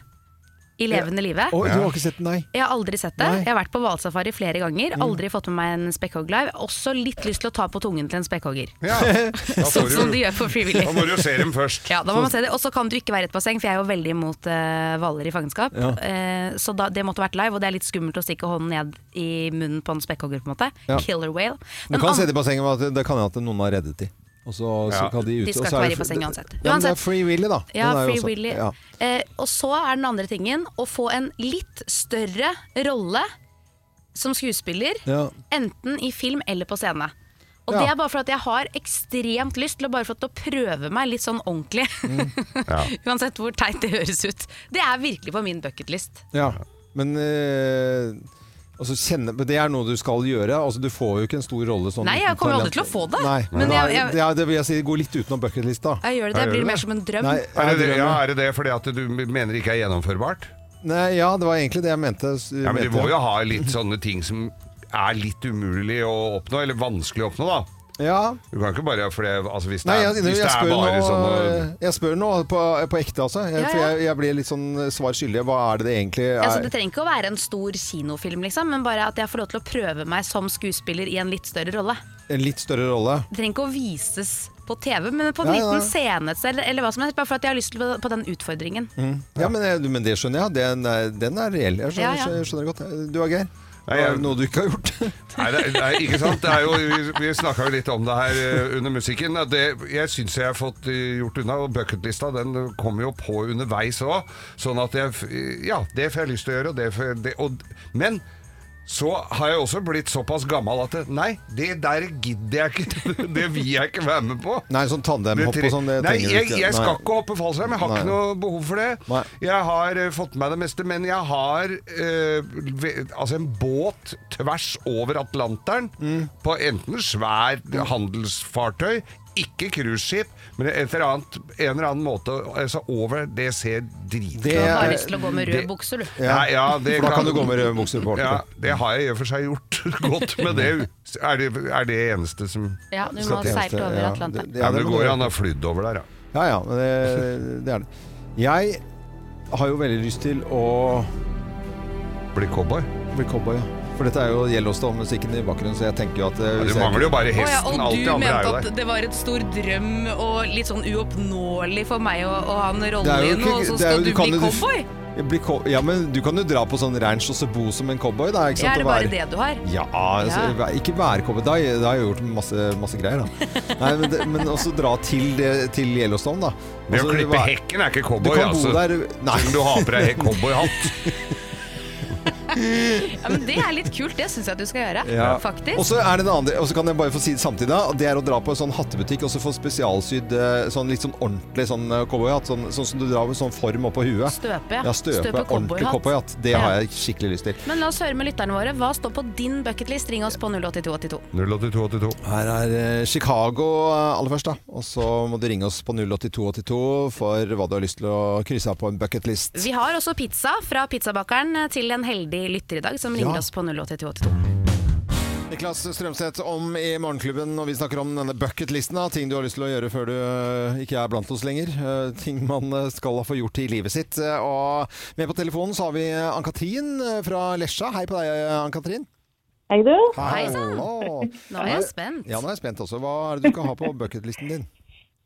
[SPEAKER 3] i levende live.
[SPEAKER 1] Å, du har ikke sett den, nei?
[SPEAKER 3] Jeg har aldri sett det.
[SPEAKER 1] Nei. Mm.
[SPEAKER 3] Jeg har vært på hvalsafari flere ganger. Aldri fått med meg en spekkhogg live. Også litt lyst til å ta på tungen til en spekkhogger.
[SPEAKER 2] Ja. Da, får
[SPEAKER 3] Sånn som
[SPEAKER 2] du,
[SPEAKER 3] de gjør på
[SPEAKER 2] da
[SPEAKER 3] frivillig.
[SPEAKER 2] må du jo se dem først.
[SPEAKER 3] Ja, da må man se det. Og så kan du ikke være i et basseng, for jeg er jo veldig imot eh, hvaler i fangenskap.
[SPEAKER 1] Ja.
[SPEAKER 3] Eh, så da, det måtte vært live, og det er litt skummelt å stikke hånden ned i munnen på en spekkhogger, på en måte.
[SPEAKER 1] Ja.
[SPEAKER 3] Killer whale.
[SPEAKER 1] Du
[SPEAKER 3] Den
[SPEAKER 1] kan
[SPEAKER 3] andre-
[SPEAKER 1] se det i bassenget, men at det kan hende at noen har reddet de. Og så, så
[SPEAKER 2] Ja.
[SPEAKER 1] kan de ut.
[SPEAKER 3] De
[SPEAKER 1] og
[SPEAKER 3] skal
[SPEAKER 1] så er
[SPEAKER 3] ikke være
[SPEAKER 1] det
[SPEAKER 3] i
[SPEAKER 1] fr-
[SPEAKER 3] bassenget uansett.
[SPEAKER 1] Ja, men det er
[SPEAKER 3] Uansett.
[SPEAKER 1] free willy, da.
[SPEAKER 3] Ja,
[SPEAKER 1] Den er jo
[SPEAKER 3] Free
[SPEAKER 1] også-
[SPEAKER 3] Willy.
[SPEAKER 1] ja.
[SPEAKER 3] Eh, og så er den andre tingen å få en litt større rolle som skuespiller,
[SPEAKER 1] Ja.
[SPEAKER 3] enten i film eller på scene. Og
[SPEAKER 1] Ja.
[SPEAKER 3] det er bare for at jeg har ekstremt lyst til å bare få til å prøve meg litt sånn ordentlig.
[SPEAKER 1] Mm.
[SPEAKER 3] Uansett hvor teit det høres ut. Det er virkelig på min bucketlist.
[SPEAKER 1] Ja, men eh, altså, kjenne, men Det er noe du skal gjøre. Altså, du får jo ikke en stor rolle sånn
[SPEAKER 3] Nei, jeg
[SPEAKER 1] uten
[SPEAKER 3] kommer
[SPEAKER 1] talent.
[SPEAKER 3] aldri til å få det.
[SPEAKER 1] Nei,
[SPEAKER 3] Men
[SPEAKER 1] Nei,
[SPEAKER 3] jeg- jeg-
[SPEAKER 1] det, er- det vil jeg si går litt utenom bucketlista.
[SPEAKER 3] Jeg gjør det,
[SPEAKER 2] Ja,
[SPEAKER 3] det
[SPEAKER 2] gjør
[SPEAKER 3] blir
[SPEAKER 2] du
[SPEAKER 3] mer
[SPEAKER 2] det?
[SPEAKER 3] som en drøm.
[SPEAKER 1] Nei,
[SPEAKER 2] Er det,
[SPEAKER 1] jeg
[SPEAKER 2] det, ja,
[SPEAKER 1] drømmer.
[SPEAKER 2] er det det fordi at du mener det ikke er gjennomførbart?
[SPEAKER 1] Nei, ja, det var egentlig det jeg mente.
[SPEAKER 2] Ja, men
[SPEAKER 1] mente
[SPEAKER 2] De må
[SPEAKER 1] jeg.
[SPEAKER 2] jo ha litt sånne ting som er litt umulig å oppnå, eller vanskelig å oppnå, da.
[SPEAKER 1] ja.
[SPEAKER 2] Du kan ikke bare for det, altså Hvis det
[SPEAKER 1] Nei,
[SPEAKER 2] er,
[SPEAKER 1] jeg, jeg,
[SPEAKER 2] hvis det er
[SPEAKER 1] spør nå, eh,
[SPEAKER 2] bare sånn å-
[SPEAKER 1] jeg spør nå på, på ekte, altså. Jeg,
[SPEAKER 3] Ja,
[SPEAKER 1] For
[SPEAKER 3] ja.
[SPEAKER 1] jeg, jeg blir litt sånn svar skyldig. Hva er det det egentlig er?
[SPEAKER 3] Altså, det trenger ikke å være en stor kinofilm, liksom, men bare at jeg får lov til å prøve meg som skuespiller i en litt større rolle.
[SPEAKER 1] En litt større rolle.
[SPEAKER 3] Det trenger ikke å vises på TV, men på en
[SPEAKER 1] Nei, nei.
[SPEAKER 3] liten scene et sted, eller, eller hva som helst. Bare for at jeg har lyst til på, på den utfordringen.
[SPEAKER 1] Mm. Ja, men, jeg- men det skjønner jeg. Den er, den er reell. Jeg
[SPEAKER 3] Ja,
[SPEAKER 1] skjønner,
[SPEAKER 3] ja.
[SPEAKER 1] jeg skjønner godt. Du er Geir.
[SPEAKER 2] Nei, jeg-
[SPEAKER 1] Noe du ikke har gjort.
[SPEAKER 2] Nei, det, nei, ikke sant? Det er jo, vi vi snakka jo litt om det her eh, under musikken. at Det, jeg syns jeg har fått eh, gjort unna. og Bucketlista den kommer jo på underveis òg. Sånn at jeg f- Ja, det får jeg lyst til å gjøre, og det får jeg det, og, Men så har jeg også blitt såpass gammel at det, nei, det der gidder jeg ikke. Det vil jeg ikke være med på.
[SPEAKER 1] Nei, sånn
[SPEAKER 2] Det
[SPEAKER 1] tandemhopp
[SPEAKER 2] tre-
[SPEAKER 1] og sånn. det
[SPEAKER 2] Nei,
[SPEAKER 1] trenger du
[SPEAKER 2] jeg,
[SPEAKER 1] ikke.
[SPEAKER 2] jeg skal
[SPEAKER 1] Nei.
[SPEAKER 2] ikke hoppe fallskjerm. Jeg har
[SPEAKER 1] Nei.
[SPEAKER 2] ikke noe behov for det.
[SPEAKER 1] Nei.
[SPEAKER 2] Jeg har eh, fått med meg det meste, men jeg har eh, ve- altså en båt
[SPEAKER 1] Mm.
[SPEAKER 2] tvers over Atlanteren på enten svær handelsfartøy Ikke cruiseskip, men et eller annet, en eller annen måte altså over. Det ser drit
[SPEAKER 1] Det
[SPEAKER 3] Du har
[SPEAKER 1] er-
[SPEAKER 3] lyst til å gå med
[SPEAKER 2] det-
[SPEAKER 3] rød bukse, du.
[SPEAKER 1] Ja.
[SPEAKER 2] Nei, ja, det
[SPEAKER 1] For da
[SPEAKER 2] kan-
[SPEAKER 1] kan du gå med røde bukser på
[SPEAKER 2] Ja,
[SPEAKER 1] ordentlig.
[SPEAKER 2] det har jeg i og for seg gjort godt, men det er det, er det eneste som
[SPEAKER 3] Ja, du må
[SPEAKER 2] skal
[SPEAKER 3] ha
[SPEAKER 2] til.
[SPEAKER 3] seilt over
[SPEAKER 1] Ja,
[SPEAKER 3] Atlanteren.
[SPEAKER 1] det-
[SPEAKER 2] Ja, men
[SPEAKER 1] det
[SPEAKER 2] det
[SPEAKER 1] må
[SPEAKER 2] går
[SPEAKER 1] du-
[SPEAKER 2] jo an å ha flydd over der, ja.
[SPEAKER 1] Ja, ja, men det, det er det. Jeg har jo veldig lyst til å
[SPEAKER 2] Bli cowboy.
[SPEAKER 1] bli cowboy. ja. For dette er jo Yellowstone-musikken i bakgrunnen, så jeg tenker jo at eh,
[SPEAKER 2] Ja,
[SPEAKER 1] hvis
[SPEAKER 2] du
[SPEAKER 1] jeg-
[SPEAKER 2] mangler jo bare
[SPEAKER 3] Å ja,
[SPEAKER 2] hesten.
[SPEAKER 3] og
[SPEAKER 2] Alt
[SPEAKER 3] du
[SPEAKER 2] det andre er
[SPEAKER 3] mente
[SPEAKER 2] jo
[SPEAKER 3] at
[SPEAKER 2] der.
[SPEAKER 3] det var et stor drøm og litt sånn uoppnåelig for meg å, å ha en
[SPEAKER 1] Det er
[SPEAKER 3] rolle
[SPEAKER 1] jo
[SPEAKER 3] i noe, og
[SPEAKER 1] ikke-
[SPEAKER 3] så
[SPEAKER 1] det er jo-
[SPEAKER 3] skal du
[SPEAKER 1] kan
[SPEAKER 3] bli
[SPEAKER 1] jo du-
[SPEAKER 3] cowboy?
[SPEAKER 1] Bli co- ja, men du kan jo dra på sånn ranch og se bo som en cowboy, da. Ikke
[SPEAKER 3] Ja,
[SPEAKER 1] sant?
[SPEAKER 3] er
[SPEAKER 1] Og
[SPEAKER 3] det bare
[SPEAKER 1] være-
[SPEAKER 3] det du har?
[SPEAKER 1] Ja, altså,
[SPEAKER 3] Ja.
[SPEAKER 1] vær- ikke være cowboy. Da, da har jeg gjort masse, masse greier, da. Nei, men, det, men også dra til, det, til Yellowstone, da.
[SPEAKER 2] Det å
[SPEAKER 1] Altså,
[SPEAKER 2] klippe
[SPEAKER 1] vær-
[SPEAKER 2] hekken er ikke
[SPEAKER 1] Du
[SPEAKER 2] cowboy,
[SPEAKER 1] kan bo
[SPEAKER 2] altså.
[SPEAKER 1] der Nei.
[SPEAKER 2] Selv om du har på deg cowboyhatt.
[SPEAKER 3] Ja, men Det er litt kult, det syns jeg du skal gjøre.
[SPEAKER 1] Ja.
[SPEAKER 3] Faktisk.
[SPEAKER 1] Og så er det det andre, og så kan jeg bare få si det samtidig, da, og det er å dra på en sånn hattebutikk og så få spesialsydd eh, sånn litt sånn ordentlig sånn eh, cowboyhatt, sånn, sånn som du drar med sånn form oppå huet.
[SPEAKER 3] Støpe.
[SPEAKER 1] Ja, støpe, ordentlig cowboyhatt. Det
[SPEAKER 3] Ja.
[SPEAKER 1] har jeg skikkelig lyst til.
[SPEAKER 3] Men la oss høre med lytterne våre. Hva står på din bucketlist? Ring oss på 08282.
[SPEAKER 2] 08282.
[SPEAKER 1] Her er eh, Chicago eh, aller først, da. Og så må du ringe oss på 08282 for hva du har lyst til å krysse av på en bucketlist.
[SPEAKER 3] Vi har også pizza fra pizzabakeren til en heldig lytter i dag, som ringer oss på 08282.
[SPEAKER 1] Niklas Strømseth om i Morgenklubben, og vi snakker om denne bucketlisten. da, Ting du har lyst til å gjøre før du øh, ikke er blant oss lenger. øh, Ting man øh, skal ha få gjort i livet sitt. øh, Og med på telefonen så har vi øh, Ann-Katrin øh, fra Lesja. Hei på deg, øh, Ann-Katrin.
[SPEAKER 5] Hei, du.
[SPEAKER 1] Hei
[SPEAKER 3] sann. Nå er jeg spent.
[SPEAKER 1] Ja, nå er jeg spent også. Hva er det du ikke har på bucketlisten din?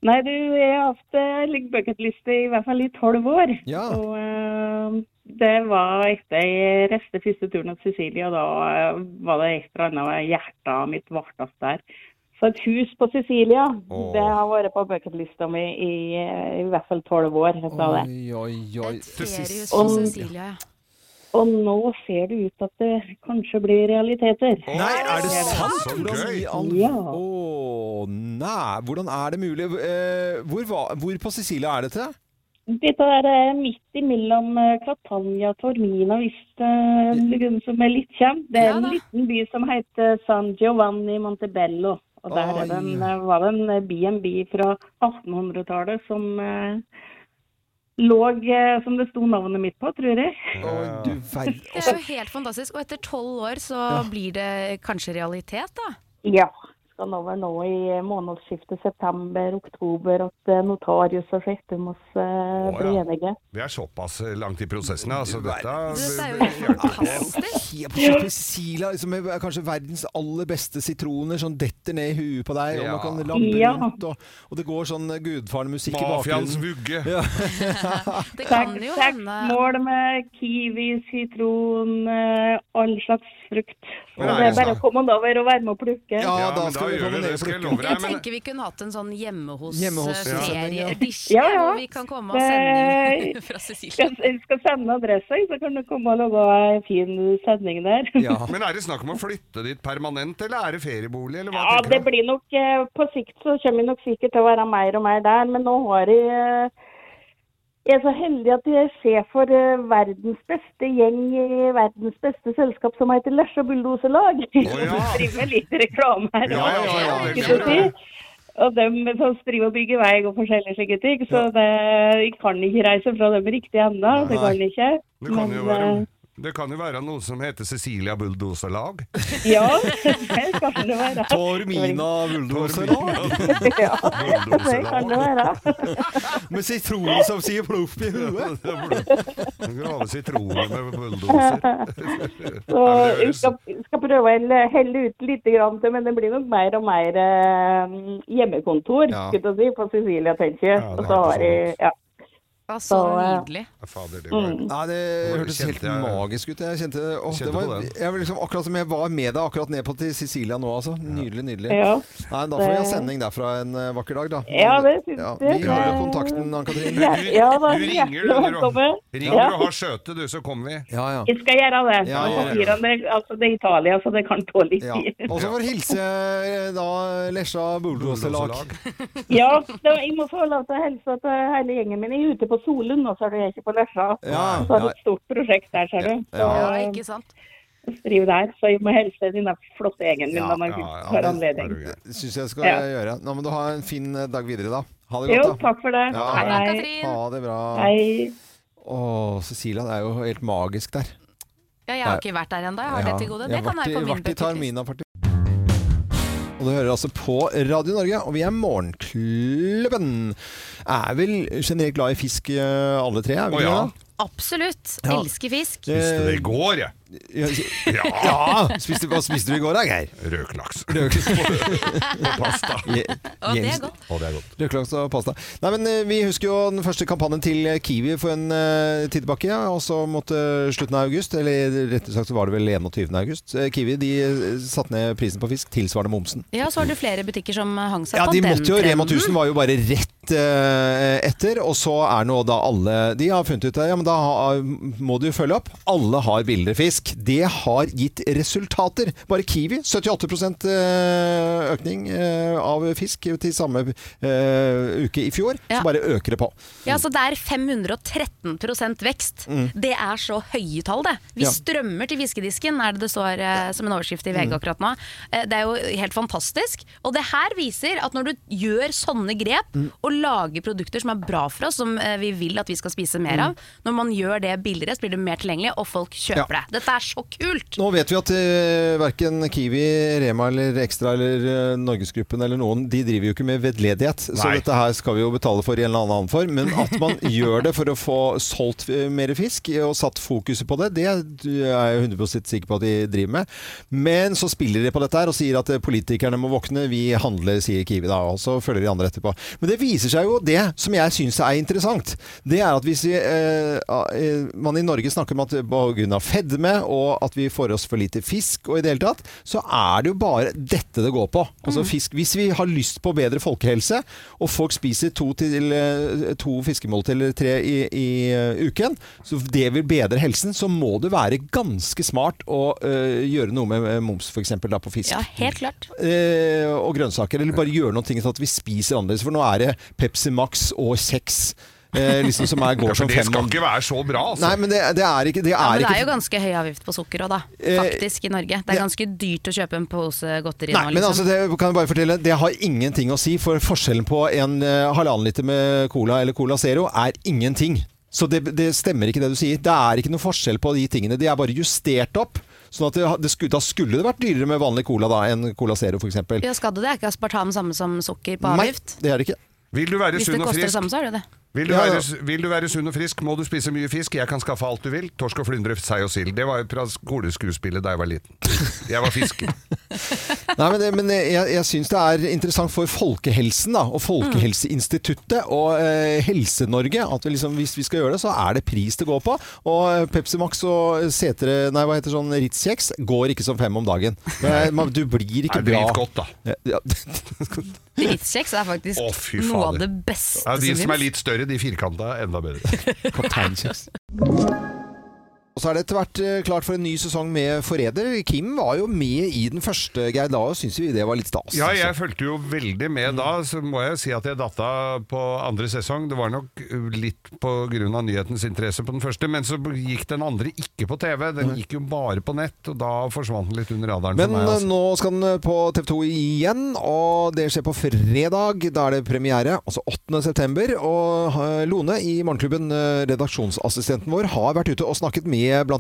[SPEAKER 5] Nei, du, jeg har hatt eh, like bucketliste i hvert fall i tolv år.
[SPEAKER 1] Ja.
[SPEAKER 5] Og eh, det var etter jeg reiste første turen til Sicilia, da eh, var det et eller annet hjertet mitt vartast der. Så et hus på Sicilia,
[SPEAKER 1] Åh.
[SPEAKER 5] det har vært på bucketlista mi i, eh, i hvert fall tolv år. Jeg sa det.
[SPEAKER 1] Oi, oi, oi.
[SPEAKER 3] Et feriehus på
[SPEAKER 5] Om-
[SPEAKER 3] Cecilia, ja.
[SPEAKER 5] Og nå ser det ut at det kanskje blir realiteter.
[SPEAKER 1] Nei, er det sant?
[SPEAKER 2] Så
[SPEAKER 1] Hvordan
[SPEAKER 2] gøy!
[SPEAKER 1] i all
[SPEAKER 5] Ja.
[SPEAKER 1] Å, nei. Hvordan er det mulig? Eh, Hvor, var- hvor på Sicilia er dette?
[SPEAKER 5] Dette er eh, midt imellom eh, Catania og Tormina, hvis eh, noen som er litt kjent. Det er
[SPEAKER 3] Ja
[SPEAKER 5] en
[SPEAKER 3] da.
[SPEAKER 5] liten by som heter San Giovanni Montebello. Og der
[SPEAKER 1] Oi.
[SPEAKER 5] er den, eh, var det en B&B fra 1800-tallet som eh, lå, eh, som det sto navnet mitt på, tror jeg.
[SPEAKER 1] Å, du verden.
[SPEAKER 3] Det er jo helt fantastisk. Og etter tolv år så blir det kanskje realitet, da.
[SPEAKER 5] Ja. Skal nå være nå i eh, månedsskiftet september-oktober at eh, notarius og skiftum oss eh,
[SPEAKER 2] Å,
[SPEAKER 5] blir
[SPEAKER 2] ja.
[SPEAKER 5] enige.
[SPEAKER 2] Vi er såpass eh, langt i prosessen, altså. Dette
[SPEAKER 3] Du, det er jo
[SPEAKER 2] det
[SPEAKER 3] helt
[SPEAKER 2] hjelper på.
[SPEAKER 3] fantastisk.
[SPEAKER 1] Helt på Sicilia, liksom, med kanskje verdens aller beste sitroner som detter ned i huet på deg, og
[SPEAKER 2] Ja.
[SPEAKER 1] man kan labbe
[SPEAKER 5] Ja.
[SPEAKER 1] rundt, og, og det går sånn gudfaren-musikk i
[SPEAKER 2] Mafiaens
[SPEAKER 1] bakgrunnen.
[SPEAKER 2] vugge.
[SPEAKER 3] Det kan
[SPEAKER 5] Seks
[SPEAKER 3] jo
[SPEAKER 5] seks
[SPEAKER 3] hende
[SPEAKER 5] mål med kiwi, sitron, eh, all slags frukt. Så
[SPEAKER 2] Men er
[SPEAKER 5] det
[SPEAKER 2] det
[SPEAKER 5] er bare
[SPEAKER 2] sånn?
[SPEAKER 5] å komme over og være med og plukke.
[SPEAKER 1] Ja, da
[SPEAKER 2] men
[SPEAKER 1] skal vi
[SPEAKER 2] gjør
[SPEAKER 1] komme ned
[SPEAKER 2] det,
[SPEAKER 1] og
[SPEAKER 2] skal jeg
[SPEAKER 1] plukke.
[SPEAKER 2] love
[SPEAKER 3] Jeg
[SPEAKER 2] deg. Men
[SPEAKER 3] tenker vi kunne hatt en sånn hjemme hos
[SPEAKER 1] Hjemme hos- ja.
[SPEAKER 3] ferie-edition,
[SPEAKER 5] Ja, ja. Eh,
[SPEAKER 3] hvor vi kan komme og sende
[SPEAKER 5] Det-
[SPEAKER 3] fra Cecilia.
[SPEAKER 5] Skal, jeg skal sende adressa, så kan du komme og lage en fin sending der.
[SPEAKER 1] Ja.
[SPEAKER 2] Men er det snakk om å flytte dit permanent, eller er det feriebolig, eller hva
[SPEAKER 5] Ja,
[SPEAKER 2] tenker
[SPEAKER 5] det
[SPEAKER 2] du?
[SPEAKER 5] blir nok eh, På sikt så kommer jeg nok sikkert til å være mer og mer der, men nå har jeg eh, jeg er så heldig at jeg er sjef for eh, verdens beste gjeng i verdens beste selskap som heter Lesja Bulldoserlag.
[SPEAKER 2] ja.
[SPEAKER 5] Så driver med litt reklame her.
[SPEAKER 2] Ja, ja, ja,
[SPEAKER 5] ikke
[SPEAKER 2] det
[SPEAKER 5] så
[SPEAKER 2] kan
[SPEAKER 5] å si.
[SPEAKER 2] jeg.
[SPEAKER 5] Og dem som driver og bygger vei og forskjellige slike ting. Så det, jeg kan ikke reise fra dem riktig ennå. Det
[SPEAKER 1] Nei.
[SPEAKER 5] kan jeg ikke.
[SPEAKER 2] Det kan jo
[SPEAKER 5] Men,
[SPEAKER 2] være,
[SPEAKER 5] eh,
[SPEAKER 2] det kan jo være noe som heter Cecilia Bulldoserlag.
[SPEAKER 5] Ja, det kan det være.
[SPEAKER 1] Tormina bulldoser da.
[SPEAKER 5] Ja, det kan det være.
[SPEAKER 1] Med sitroner som sier ploff i huet.
[SPEAKER 2] Den grave sitroner med bulldoser.
[SPEAKER 5] Så
[SPEAKER 2] Ja, men det
[SPEAKER 5] jeg
[SPEAKER 2] høres-
[SPEAKER 5] skal, skal prøve å helle ut litt, grann til, men det blir nok mer og mer eh, hjemmekontor
[SPEAKER 1] Ja.
[SPEAKER 5] skulle jeg si, på Sicilia, tenker jeg.
[SPEAKER 2] Ja,
[SPEAKER 5] Og
[SPEAKER 2] det er
[SPEAKER 5] så har jeg,
[SPEAKER 2] absolutt.
[SPEAKER 5] ja.
[SPEAKER 3] Ja, Så
[SPEAKER 5] eh,
[SPEAKER 3] nydelig.
[SPEAKER 2] Fader, det
[SPEAKER 5] Mm.
[SPEAKER 2] var
[SPEAKER 1] Nei, det hørtes
[SPEAKER 2] kjente
[SPEAKER 1] helt
[SPEAKER 2] jeg-
[SPEAKER 1] magisk ut. Jeg kjente, åh, det
[SPEAKER 2] Kjente
[SPEAKER 1] var,
[SPEAKER 2] på det.
[SPEAKER 1] jeg var liksom, akkurat som jeg var med deg akkurat ned på til Sicilia nå, altså. Nydelig, nydelig.
[SPEAKER 5] Ja.
[SPEAKER 1] Nei, da får vi ha sending derfra en eh, vakker dag, da.
[SPEAKER 5] Ja, det syns
[SPEAKER 1] Vi
[SPEAKER 5] jeg.
[SPEAKER 1] har jo kontakten, Ann-Katrin.
[SPEAKER 5] Ja,
[SPEAKER 2] Du-
[SPEAKER 5] ja, da,
[SPEAKER 2] du ringer,
[SPEAKER 5] hjertelig
[SPEAKER 2] du, Gro.
[SPEAKER 5] velkommen.
[SPEAKER 2] Ring
[SPEAKER 5] Ja,
[SPEAKER 2] når du har skjøte, du, så kommer vi.
[SPEAKER 1] Ja, ja.
[SPEAKER 5] jeg skal gjøre det. Og
[SPEAKER 1] Ja,
[SPEAKER 5] så
[SPEAKER 2] ja, ja.
[SPEAKER 5] sier han det, altså, det er Italia, så det kan ta litt
[SPEAKER 1] Ja.
[SPEAKER 5] tid.
[SPEAKER 1] Og så får vi hilse eh, da Lesja bulldoserlag.
[SPEAKER 2] Bulldoserlag.
[SPEAKER 5] Ja, da, jeg må få lov til å hilse til hele gjengen min. Jeg er ute på Solund nå, så er det jeg ikke på Lesja.
[SPEAKER 1] Ja,
[SPEAKER 5] Så er det
[SPEAKER 1] ja.
[SPEAKER 5] et stort prosjekt der, ser du. Så,
[SPEAKER 3] Ja, ikke sant?
[SPEAKER 5] driver der. Så jeg må hilse den der flotte gjengen min
[SPEAKER 1] Ja,
[SPEAKER 5] når man
[SPEAKER 2] ja, ja,
[SPEAKER 5] har
[SPEAKER 2] det-
[SPEAKER 5] anledning.
[SPEAKER 2] er du gæren.
[SPEAKER 1] Syns jeg skal
[SPEAKER 5] Ja.
[SPEAKER 1] gjøre. Nå må du ha en fin eh, dag videre, da. Ha det
[SPEAKER 5] Jo,
[SPEAKER 1] godt, da.
[SPEAKER 5] takk for det.
[SPEAKER 1] Ja,
[SPEAKER 3] Hei da,
[SPEAKER 5] Hei.
[SPEAKER 3] Katrin.
[SPEAKER 1] Ha det bra.
[SPEAKER 5] Hei.
[SPEAKER 1] Å, Cecilia, det er jo helt magisk der.
[SPEAKER 3] Ja, jeg har ikke vært der ennå. Jeg har
[SPEAKER 1] Ja,
[SPEAKER 3] det til gode.
[SPEAKER 1] jeg
[SPEAKER 3] Det
[SPEAKER 1] har
[SPEAKER 3] kan
[SPEAKER 1] vært
[SPEAKER 3] være på
[SPEAKER 1] i-
[SPEAKER 3] min
[SPEAKER 1] vært i
[SPEAKER 3] bucketlist.
[SPEAKER 1] Taormina, faktisk. Og du hører altså på Radio Norge, og vi er Morgenklubben. Er vel generelt glad i fisk, eh, alle tre? Er vi
[SPEAKER 2] Å,
[SPEAKER 1] ikke
[SPEAKER 2] ja.
[SPEAKER 1] det,
[SPEAKER 3] Absolutt.
[SPEAKER 1] Ja.
[SPEAKER 3] Elsker fisk.
[SPEAKER 1] da?
[SPEAKER 2] Spiste det i går, jeg.
[SPEAKER 1] Eh,
[SPEAKER 2] Ja,
[SPEAKER 1] Ja! Spiste, hva spiste du i går, da, Geir?
[SPEAKER 2] Røkelaks.
[SPEAKER 1] og pasta.
[SPEAKER 3] Å, det er godt.
[SPEAKER 2] Å, det er godt.
[SPEAKER 1] Røkelaks og pasta. Nei, men eh, Vi husker jo den første kampanjen til Kiwi for en eh, tid tilbake. ja, Og så mot eh, slutten av august, eller rett og slett så var det vel 21. august. Eh, Kiwi de eh, satte ned prisen på fisk tilsvarende momsen.
[SPEAKER 3] Ja, så var det flere butikker som hang seg
[SPEAKER 1] Ja,
[SPEAKER 3] på
[SPEAKER 1] de
[SPEAKER 3] den
[SPEAKER 1] måtte jo, Rema
[SPEAKER 3] trenden.
[SPEAKER 1] 1000 var jo bare rett eh, etter, og så er nå da alle De har funnet ut det, ja, men da har, må du jo følge opp. Alle har billigere fisk. Det har gitt resultater. Bare Kiwi 78 eh, økning eh, av fisk til samme eh, uke i fjor.
[SPEAKER 3] Ja.
[SPEAKER 1] Så bare øker det på.
[SPEAKER 3] Ja, så Det er 513 vekst. Det er så høye tall, det. Vi
[SPEAKER 1] Mm. Ja.
[SPEAKER 3] strømmer til fiskedisken, er det det står eh, som en overskrift i
[SPEAKER 1] Mm.
[SPEAKER 3] VG akkurat nå. Eh, det er jo helt fantastisk. Og det her viser at når du gjør sånne grep,
[SPEAKER 1] Mm.
[SPEAKER 3] og lager produkter som er bra for oss, som eh, vi vil at vi skal spise
[SPEAKER 1] Mm.
[SPEAKER 3] mer av, når man gjør det billigere, så blir det mer tilgjengelig, og folk kjøper
[SPEAKER 1] Ja.
[SPEAKER 3] det. Dette er så kult!
[SPEAKER 1] Nå vet vi at eh, verken Kiwi, Rema eller Ekstra eller eh, Norgesgruppen eller noen, de driver jo ikke med vedledighet. Så
[SPEAKER 2] Nei.
[SPEAKER 1] dette her skal vi jo betale for i en eller annen form. Men at man gjør det for å få solgt eh, mer fisk og satt fokuset på det, det er jeg 100 sikker på at de driver med. Men så spiller de på dette her og sier at eh, politikerne må våkne, vi handler, sier Kiwi da, og så følger de andre etterpå. Men det viser seg jo det som jeg syns er interessant. Det er at hvis vi, eh, eh, man i Norge snakker om at pga. fedme og at vi får oss for lite fisk og i det hele tatt, så er det jo bare dette det går på. Altså fisk. Hvis vi har lyst på bedre folkehelse, og folk spiser to, til, eh, to fiskemåltider eller tre i, i eh, uken, så det vil bedre helsen, så må det være ganske smart å eh, gjøre noe med eh, moms f.eks. på fisk
[SPEAKER 3] Ja, helt klart.
[SPEAKER 1] eh, og grønnsaker, eller bare gjøre noen ting sånn at vi spiser annerledes. For nå er det Pepsi Max og kjeks eh, liksom som er,
[SPEAKER 2] Ja,
[SPEAKER 1] går
[SPEAKER 2] for
[SPEAKER 1] som
[SPEAKER 2] det
[SPEAKER 1] fem
[SPEAKER 2] skal
[SPEAKER 1] om
[SPEAKER 2] ikke være så bra, altså.
[SPEAKER 1] Nei, men det, det er ikke Det er,
[SPEAKER 3] Ja, men det
[SPEAKER 1] ikke
[SPEAKER 3] er jo ganske høy avgift på sukker òg, da.
[SPEAKER 1] Eh,
[SPEAKER 3] Faktisk, i Norge. Det er
[SPEAKER 1] ja.
[SPEAKER 3] ganske dyrt å kjøpe en pose godteri
[SPEAKER 1] Nei,
[SPEAKER 3] nå,
[SPEAKER 1] men
[SPEAKER 3] liksom.
[SPEAKER 1] altså, det kan jeg bare fortelle Det har ingenting å si, for forskjellen på en eh, halvannen liter med cola eller Cola Zero er ingenting. Så det, det stemmer ikke det du sier. Det er ikke noe forskjell på de tingene. De er bare justert opp. Sånn at det, det skulle, Da skulle det vært dyrere med vanlig cola da enn Cola Zero f.eks.
[SPEAKER 3] Ja, skal du det? Er ikke aspartam samme som sukker på
[SPEAKER 1] Nei,
[SPEAKER 3] avgift?
[SPEAKER 1] det er det ikke.
[SPEAKER 2] Vil du være
[SPEAKER 3] Hvis det
[SPEAKER 2] sunn og
[SPEAKER 3] koster det
[SPEAKER 2] frisk?
[SPEAKER 3] samme, så er det det.
[SPEAKER 2] Vil du,
[SPEAKER 1] Ja, ja.
[SPEAKER 2] være, vil du være sunn og frisk, må du spise mye fisk. Jeg kan skaffe alt du vil. Torsk og flyndre, sei og sild. Det var jo fra skoleskuespillet da jeg var liten. Jeg var fisker.
[SPEAKER 1] Nei, men, det- men jeg, jeg syns det er interessant for folkehelsen da, og Folkehelseinstituttet og eh, Helse-Norge at vi liksom, hvis vi skal gjøre det, så er det pris det går på. Og eh, Pepsi Max og Setre, nei hva heter sånn Ritz-kjeks går ikke som fem om dagen. Det er- man- Du blir
[SPEAKER 2] Det
[SPEAKER 1] ikke
[SPEAKER 2] er
[SPEAKER 1] bra.
[SPEAKER 2] dritgodt, da.
[SPEAKER 1] Ja, ja.
[SPEAKER 3] Drittkjeks er faktisk
[SPEAKER 2] Å, fy
[SPEAKER 3] noe av
[SPEAKER 2] fader.
[SPEAKER 3] det beste
[SPEAKER 2] Ja, de
[SPEAKER 3] som
[SPEAKER 2] som er
[SPEAKER 3] finnes.
[SPEAKER 2] litt større, de firkanta, er enda bedre.
[SPEAKER 1] Kapteinkjeks. Og så er det etter hvert eh, klart for en ny sesong med Forræder. Kim var jo med i den første, Geir. Da syns vi det var litt stas.
[SPEAKER 2] Ja, jeg fulgte jo veldig med da, så må jeg si at jeg datta på andre sesong. Det var nok uh, litt på grunn av nyhetens interesse på den første, men så gikk den andre ikke på TV. Den gikk jo bare på nett, og da forsvant den litt under radaren
[SPEAKER 1] Men
[SPEAKER 2] for meg.
[SPEAKER 1] eh,
[SPEAKER 2] Altså.
[SPEAKER 1] nå skal den på TV 2 igjen, og det skjer på fredag. Da er det premiere, altså 8. september. Og eh, Lone i Morgenklubben, eh, redaksjonsassistenten vår, har vært ute og snakket med bl.a.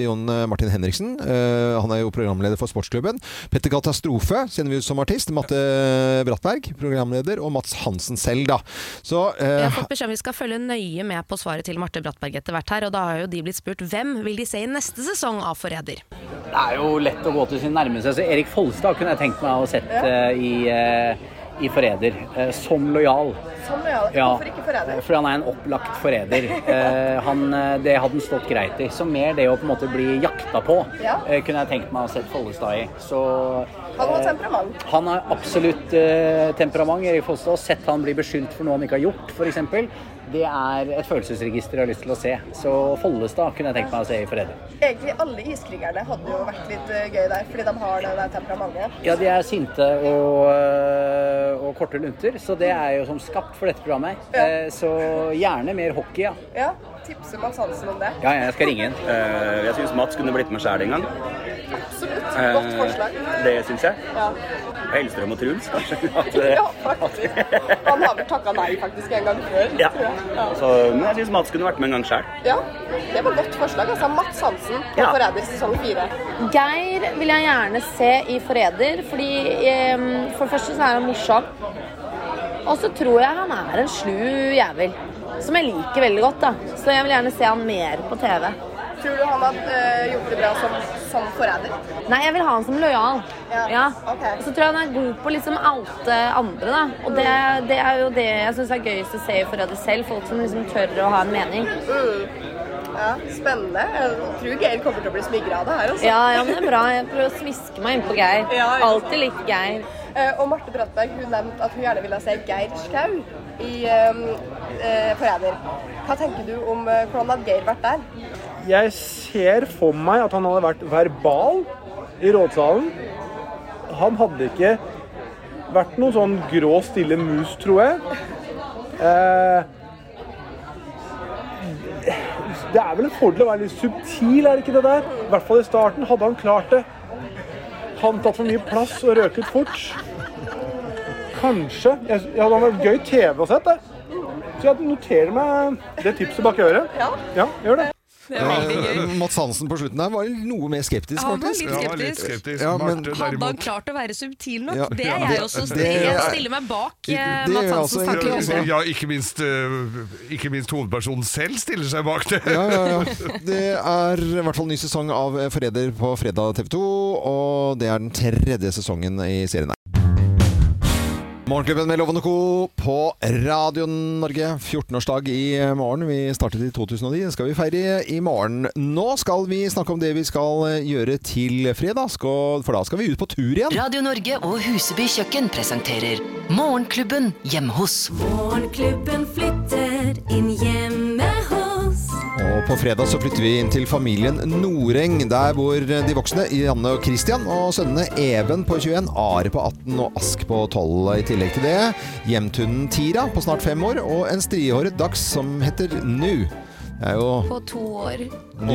[SPEAKER 1] Jon Martin Henriksen. Eh, Han er jo programleder for Sportsklubben. Petter Katastrofe kjenner vi ut som artist. Matte Brattberg, programleder. Og Mats Hansen selv, da. Så
[SPEAKER 3] Vi
[SPEAKER 1] eh,
[SPEAKER 3] har fått beskjed om vi skal følge nøye med på svaret til Marte Brattberg etter hvert her, og da har jo de blitt spurt hvem vil de se i neste sesong av Forræder.
[SPEAKER 6] Det er jo lett å gå til sin nærmeste. Så Erik Folstad kunne jeg tenkt meg å sette eh, i, eh, i Forræder. eh, Som lojal.
[SPEAKER 7] Som lojal.
[SPEAKER 6] Ja,
[SPEAKER 7] Sånn, Hvorfor ikke forræder?
[SPEAKER 6] eh, Fordi han er en opplagt forræder. Eh, han, eh, Det hadde han stått greit i. Så mer det å på en måte bli jakta på
[SPEAKER 7] Ja.
[SPEAKER 6] eh, kunne jeg tenkt meg å sette Follestad i. Så
[SPEAKER 7] Han har
[SPEAKER 6] eh,
[SPEAKER 7] temperament.
[SPEAKER 6] han har absolutt eh, temperament, Erik Folstad. Sett han bli beskyldt for noe han ikke har gjort, f.eks. Det er et følelsesregister jeg har lyst til å se. Så Follestad kunne jeg tenkt meg å se i Forræder.
[SPEAKER 7] Egentlig alle iskrigerne hadde jo vært litt eh, gøy der, fordi de har det der temperamentet.
[SPEAKER 6] Ja, de er sinte og, eh, og korte lunter. Så det er jo som skapt for dette programmet. her. Eh, Så gjerne mer hockey, ja.
[SPEAKER 7] Ja, tipse Mads Hansen om det.
[SPEAKER 6] Ja, ja, jeg skal ringe inn.
[SPEAKER 8] Eh, jeg syns Mats kunne blitt med sjæl en gang.
[SPEAKER 7] Absolutt.
[SPEAKER 8] Eh,
[SPEAKER 7] Godt forslag.
[SPEAKER 8] Det syns jeg.
[SPEAKER 7] Ja.
[SPEAKER 8] Hellstrøm og Truls, kanskje. At, eh,
[SPEAKER 7] ja, faktisk. Han har vel takka nei faktisk en gang før.
[SPEAKER 8] ja.
[SPEAKER 7] tror jeg. Ja.
[SPEAKER 8] Så, men jeg syns Mats kunne vært med en gang sjæl.
[SPEAKER 7] ja. Det var godt forslag. altså Mads Hansen på
[SPEAKER 8] Ja.
[SPEAKER 7] Forræder sesong fire.
[SPEAKER 3] Geir vil jeg gjerne se i Forræder, fordi eh, for det første så er han morsom. Og så tror jeg han er en slu jævel, som jeg liker veldig godt. da. Så jeg vil gjerne se han mer på TV.
[SPEAKER 7] Tror du han hadde eh, gjort det bra som, som forræder?
[SPEAKER 3] Nei, jeg vil ha han som lojal.
[SPEAKER 7] Ja, ok.
[SPEAKER 3] Og så tror jeg han er god på liksom alt det andre, da. Og det, det er jo det jeg syns er gøyest å se i Forræder selv. Folk som liksom tør å ha en mening.
[SPEAKER 7] Mm. Ja, Spennende. Jeg tror Geir kommer til å bli smigra av det her. altså.
[SPEAKER 3] Ja, ja, men det er bra. Jeg prøver å smiske meg innpå Geir.
[SPEAKER 7] Ja, ja.
[SPEAKER 3] Alltid litt Geir.
[SPEAKER 7] Eh, Og Marte Brattberg hun nevnte at hun gjerne ville se Geir Skau i um, Forræder. Hva tenker du om eh, hvordan hadde Geir vært der?
[SPEAKER 9] Jeg ser for meg at han hadde vært verbal i rådsalen. Han hadde ikke vært noen sånn grå, stille mus, tror jeg. Eh, det er vel en fordel å være litt subtil, er det ikke det der? I hvert fall i starten. Hadde han klart det. Han tatt for mye plass og røket fort. Kanskje. Jeg, ja, det hadde vært gøy TV å se, det. Så jeg noterer meg det tipset bak øret. Ja, gjør det.
[SPEAKER 10] Det er veldig gøy.
[SPEAKER 1] eh, Mats Hansen på slutten der var noe mer skeptisk,
[SPEAKER 10] Han var
[SPEAKER 1] faktisk.
[SPEAKER 10] litt
[SPEAKER 2] Jeg var litt
[SPEAKER 10] skeptisk.
[SPEAKER 2] skeptisk.
[SPEAKER 1] Ja, men-
[SPEAKER 2] Marte,
[SPEAKER 10] Hadde han
[SPEAKER 2] derimot.
[SPEAKER 10] klart å være subtil nok?
[SPEAKER 1] Ja.
[SPEAKER 10] Det er
[SPEAKER 1] Det-
[SPEAKER 10] jeg også.
[SPEAKER 1] det er-
[SPEAKER 10] Jeg stiller meg bak eh,
[SPEAKER 1] Det gjør altså
[SPEAKER 10] Mads
[SPEAKER 1] jeg også,
[SPEAKER 10] Hansens tanker.
[SPEAKER 1] egentlig
[SPEAKER 10] om
[SPEAKER 1] også.
[SPEAKER 10] det.
[SPEAKER 2] altså- Ja, ikke minst, eh, ikke minst hovedpersonen selv stiller seg bak det.
[SPEAKER 1] Ja, ja, ja. Det er i hvert fall ny sesong av Forræder på fredag TV 2, og det er den tredje sesongen i serien. Morgenklubben med Loven og Co. på Radio Norge. 14-årsdag i morgen. Vi startet i 2009. Den skal vi feire i morgen. Nå skal vi snakke om det vi skal gjøre til fredag, skal- for da skal vi ut på tur igjen.
[SPEAKER 11] Radio Norge og Huseby kjøkken presenterer Morgenklubben hjemme hos.
[SPEAKER 12] Morgenklubben flytter inn hjemme hos.
[SPEAKER 1] Og på fredag så flytter vi inn til familien Noreng, der bor de voksne Janne og Christian og sønnene Even på 21, Are på 18 og Ask på 12. I tillegg til det hjemtunnen Tira på snart fem år og en strihåret dachs som heter Nu. Det er jo
[SPEAKER 13] På to år.
[SPEAKER 1] Nu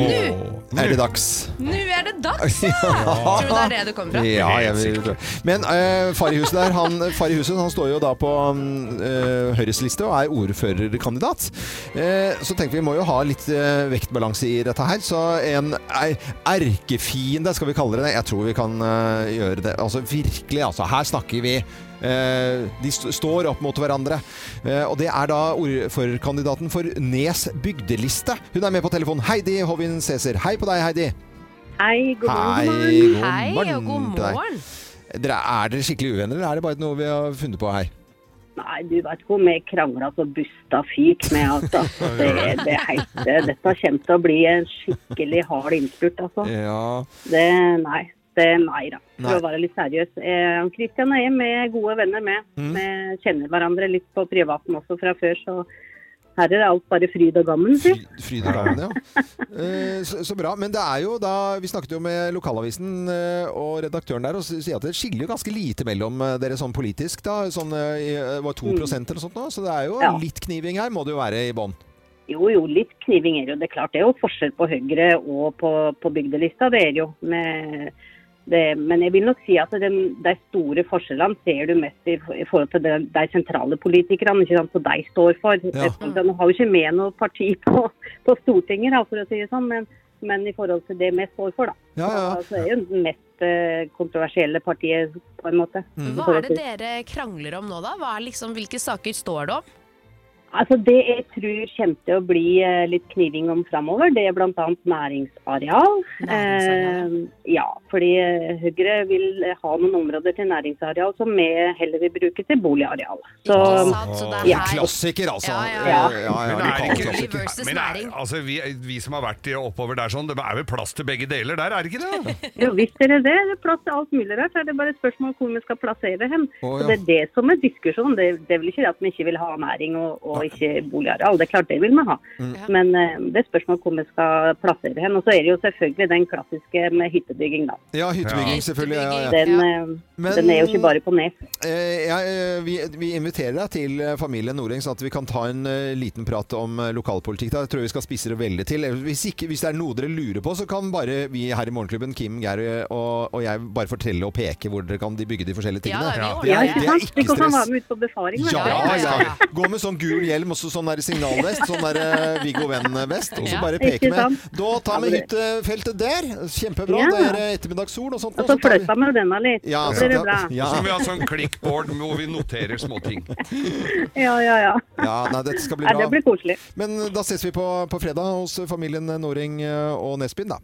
[SPEAKER 1] er det dags.
[SPEAKER 13] Nå er det dags, ja! Tror du det er det du kommer fra?
[SPEAKER 1] Ja, jeg vil tro. Men eh, far i huset der, han, far i huset, han står jo da på mm, eh, Høyres liste og er ordførerkandidat. Eh, så tenker vi må jo ha litt eh, vektbalanse i dette her. Så en er- erkefiende, skal vi kalle det det. Jeg tror vi kan eh, gjøre det. Altså virkelig, altså. Her snakker vi. eh, de st står opp mot hverandre. Eh, og det er da ordførerkandidaten for Nes bygdeliste. Hun er med på telefon. Heidi Hovin Cæsar. Hei på deg, Heidi.
[SPEAKER 14] Hei, god
[SPEAKER 1] Hei, god
[SPEAKER 13] Hei og god
[SPEAKER 1] til deg.
[SPEAKER 13] morgen.
[SPEAKER 1] Dere, er dere skikkelig uvenner, eller er det bare noe vi har funnet på her?
[SPEAKER 14] Nei, du vet hvor mye krangla så busta fyk med, altså. Det, det heite, dette kommer til å bli en skikkelig hard innspurt, altså.
[SPEAKER 1] Ja.
[SPEAKER 14] Det, nei. Det, nei da. For
[SPEAKER 1] Nei.
[SPEAKER 14] å være litt seriøs. Eh, Christian og jeg er gode venner med.
[SPEAKER 2] Mm.
[SPEAKER 14] Vi kjenner hverandre litt på privaten også fra før, så her er det alt bare fryd og gammen.
[SPEAKER 1] Fry, fryd og gammen, ja. Eh, Så, så bra. Men det er jo da Vi snakket jo med lokalavisen eh, og redaktøren der og s- sier at det skiller jo ganske lite mellom eh, dere sånn politisk, da. Sånn eh, i, eh, var 2 eller sånt nå, så det er jo
[SPEAKER 14] Ja.
[SPEAKER 1] litt kniving her, må det jo være i bånn.
[SPEAKER 14] Jo, jo, litt kniving er jo det er klart. Det er jo forskjell på Høyre og på, på bygdelista, det er jo. Men, det, men jeg vil nok si at den, de store forskjellene ser du mest i, i forhold til de, de sentrale politikerne, ikke sant, som de står for.
[SPEAKER 1] Ja.
[SPEAKER 14] De har jo ikke med noe parti på, på Stortinget, da, for å si det sånn, men, men i forhold til det vi står for, da.
[SPEAKER 1] Ja, ja.
[SPEAKER 14] Så er jo det mest eh, kontroversielle partiet, på en måte.
[SPEAKER 1] Mm.
[SPEAKER 13] Hva er det dere krangler om nå, da? Hva er liksom, hvilke saker står det om?
[SPEAKER 14] Altså Det jeg tror kommer til å bli eh, litt kniving om framover, det er bl.a. næringsareal.
[SPEAKER 13] Næringsareal.
[SPEAKER 14] Eh, ja, fordi eh, Høyre vil ha noen områder til næringsareal som vi heller vil bruke til boligareal. Så
[SPEAKER 13] Ikke sant? Så det
[SPEAKER 14] Ja.
[SPEAKER 13] er
[SPEAKER 1] Klassiker, altså.
[SPEAKER 13] Ja, ja,
[SPEAKER 14] ja.
[SPEAKER 1] Eh, ja, ja,
[SPEAKER 2] Men er
[SPEAKER 1] lokal
[SPEAKER 2] ikke-
[SPEAKER 1] klassiker.
[SPEAKER 13] versus
[SPEAKER 2] Men er,
[SPEAKER 13] næring.
[SPEAKER 2] altså, vi, vi som har vært i- oppover der sånn, det er vel plass til begge deler der, er det ikke det?
[SPEAKER 14] jo, hvis dere det, det er plass til alt mulig rart. så er Det bare et spørsmål om hvor vi skal plassere hen. Så
[SPEAKER 1] Å, ja.
[SPEAKER 14] Det er det som er diskusjonen. Det, det er vel ikke det at vi ikke vil ha næring og, og og ikke boligareal. Det er klart det vil vi ha.
[SPEAKER 1] Mm.
[SPEAKER 14] Men eh, det er spørsmål hvor vi skal plassere hen. Og så er det jo selvfølgelig den klassiske med hyttebygging, da.
[SPEAKER 1] Ja, hyttebygging, selvfølgelig. Ja, ja.
[SPEAKER 14] Den, eh,
[SPEAKER 1] Men-
[SPEAKER 14] den er jo ikke bare på Nes.
[SPEAKER 1] Eh, jeg, eh, vi, vi inviterer deg til eh, familien Noreng, sånn at vi kan ta en eh, liten prat om eh, lokalpolitikk. Da. Jeg tror vi skal spisse det veldig til. Eller Hvis, ikke, hvis det er noe dere lurer på, så kan bare vi her i Morgenklubben, Kim, Geir eh, og, og jeg, bare fortelle og peke hvor dere kan de bygge de forskjellige
[SPEAKER 14] Ja,
[SPEAKER 1] tingene.
[SPEAKER 14] ja,
[SPEAKER 1] Det er-
[SPEAKER 14] ikke
[SPEAKER 1] det er
[SPEAKER 14] sant? Vi
[SPEAKER 1] ikke
[SPEAKER 14] kan være
[SPEAKER 1] stress.
[SPEAKER 14] med ut på befaring. da.
[SPEAKER 1] Ja, ja, Gå med sånn gul hjelm og sånn der signalvest, sånn der eh, Viggo Venn-vest, og så
[SPEAKER 14] Ja.
[SPEAKER 1] bare
[SPEAKER 14] Ikke
[SPEAKER 1] peke med.
[SPEAKER 14] sant?
[SPEAKER 1] Da tar vi
[SPEAKER 14] Ja, det-
[SPEAKER 1] hyttefeltet der. Kjempebra.
[SPEAKER 14] Ja.
[SPEAKER 1] Det er eh, ettermiddagssol og sånt.
[SPEAKER 14] Og så flytta vi denne litt.
[SPEAKER 1] Ja,
[SPEAKER 14] så blir det
[SPEAKER 1] så-
[SPEAKER 14] bra.
[SPEAKER 1] Ja.
[SPEAKER 2] Så må vi ha sånn klikkbord hvor vi noterer småting.
[SPEAKER 14] Ja, ja, ja.
[SPEAKER 1] Ja, nei, dette skal bli
[SPEAKER 14] Ja,
[SPEAKER 1] bra.
[SPEAKER 14] det blir koselig.
[SPEAKER 1] Men eh, da ses vi på, på fredag hos familien Noring og Nesbyen, da.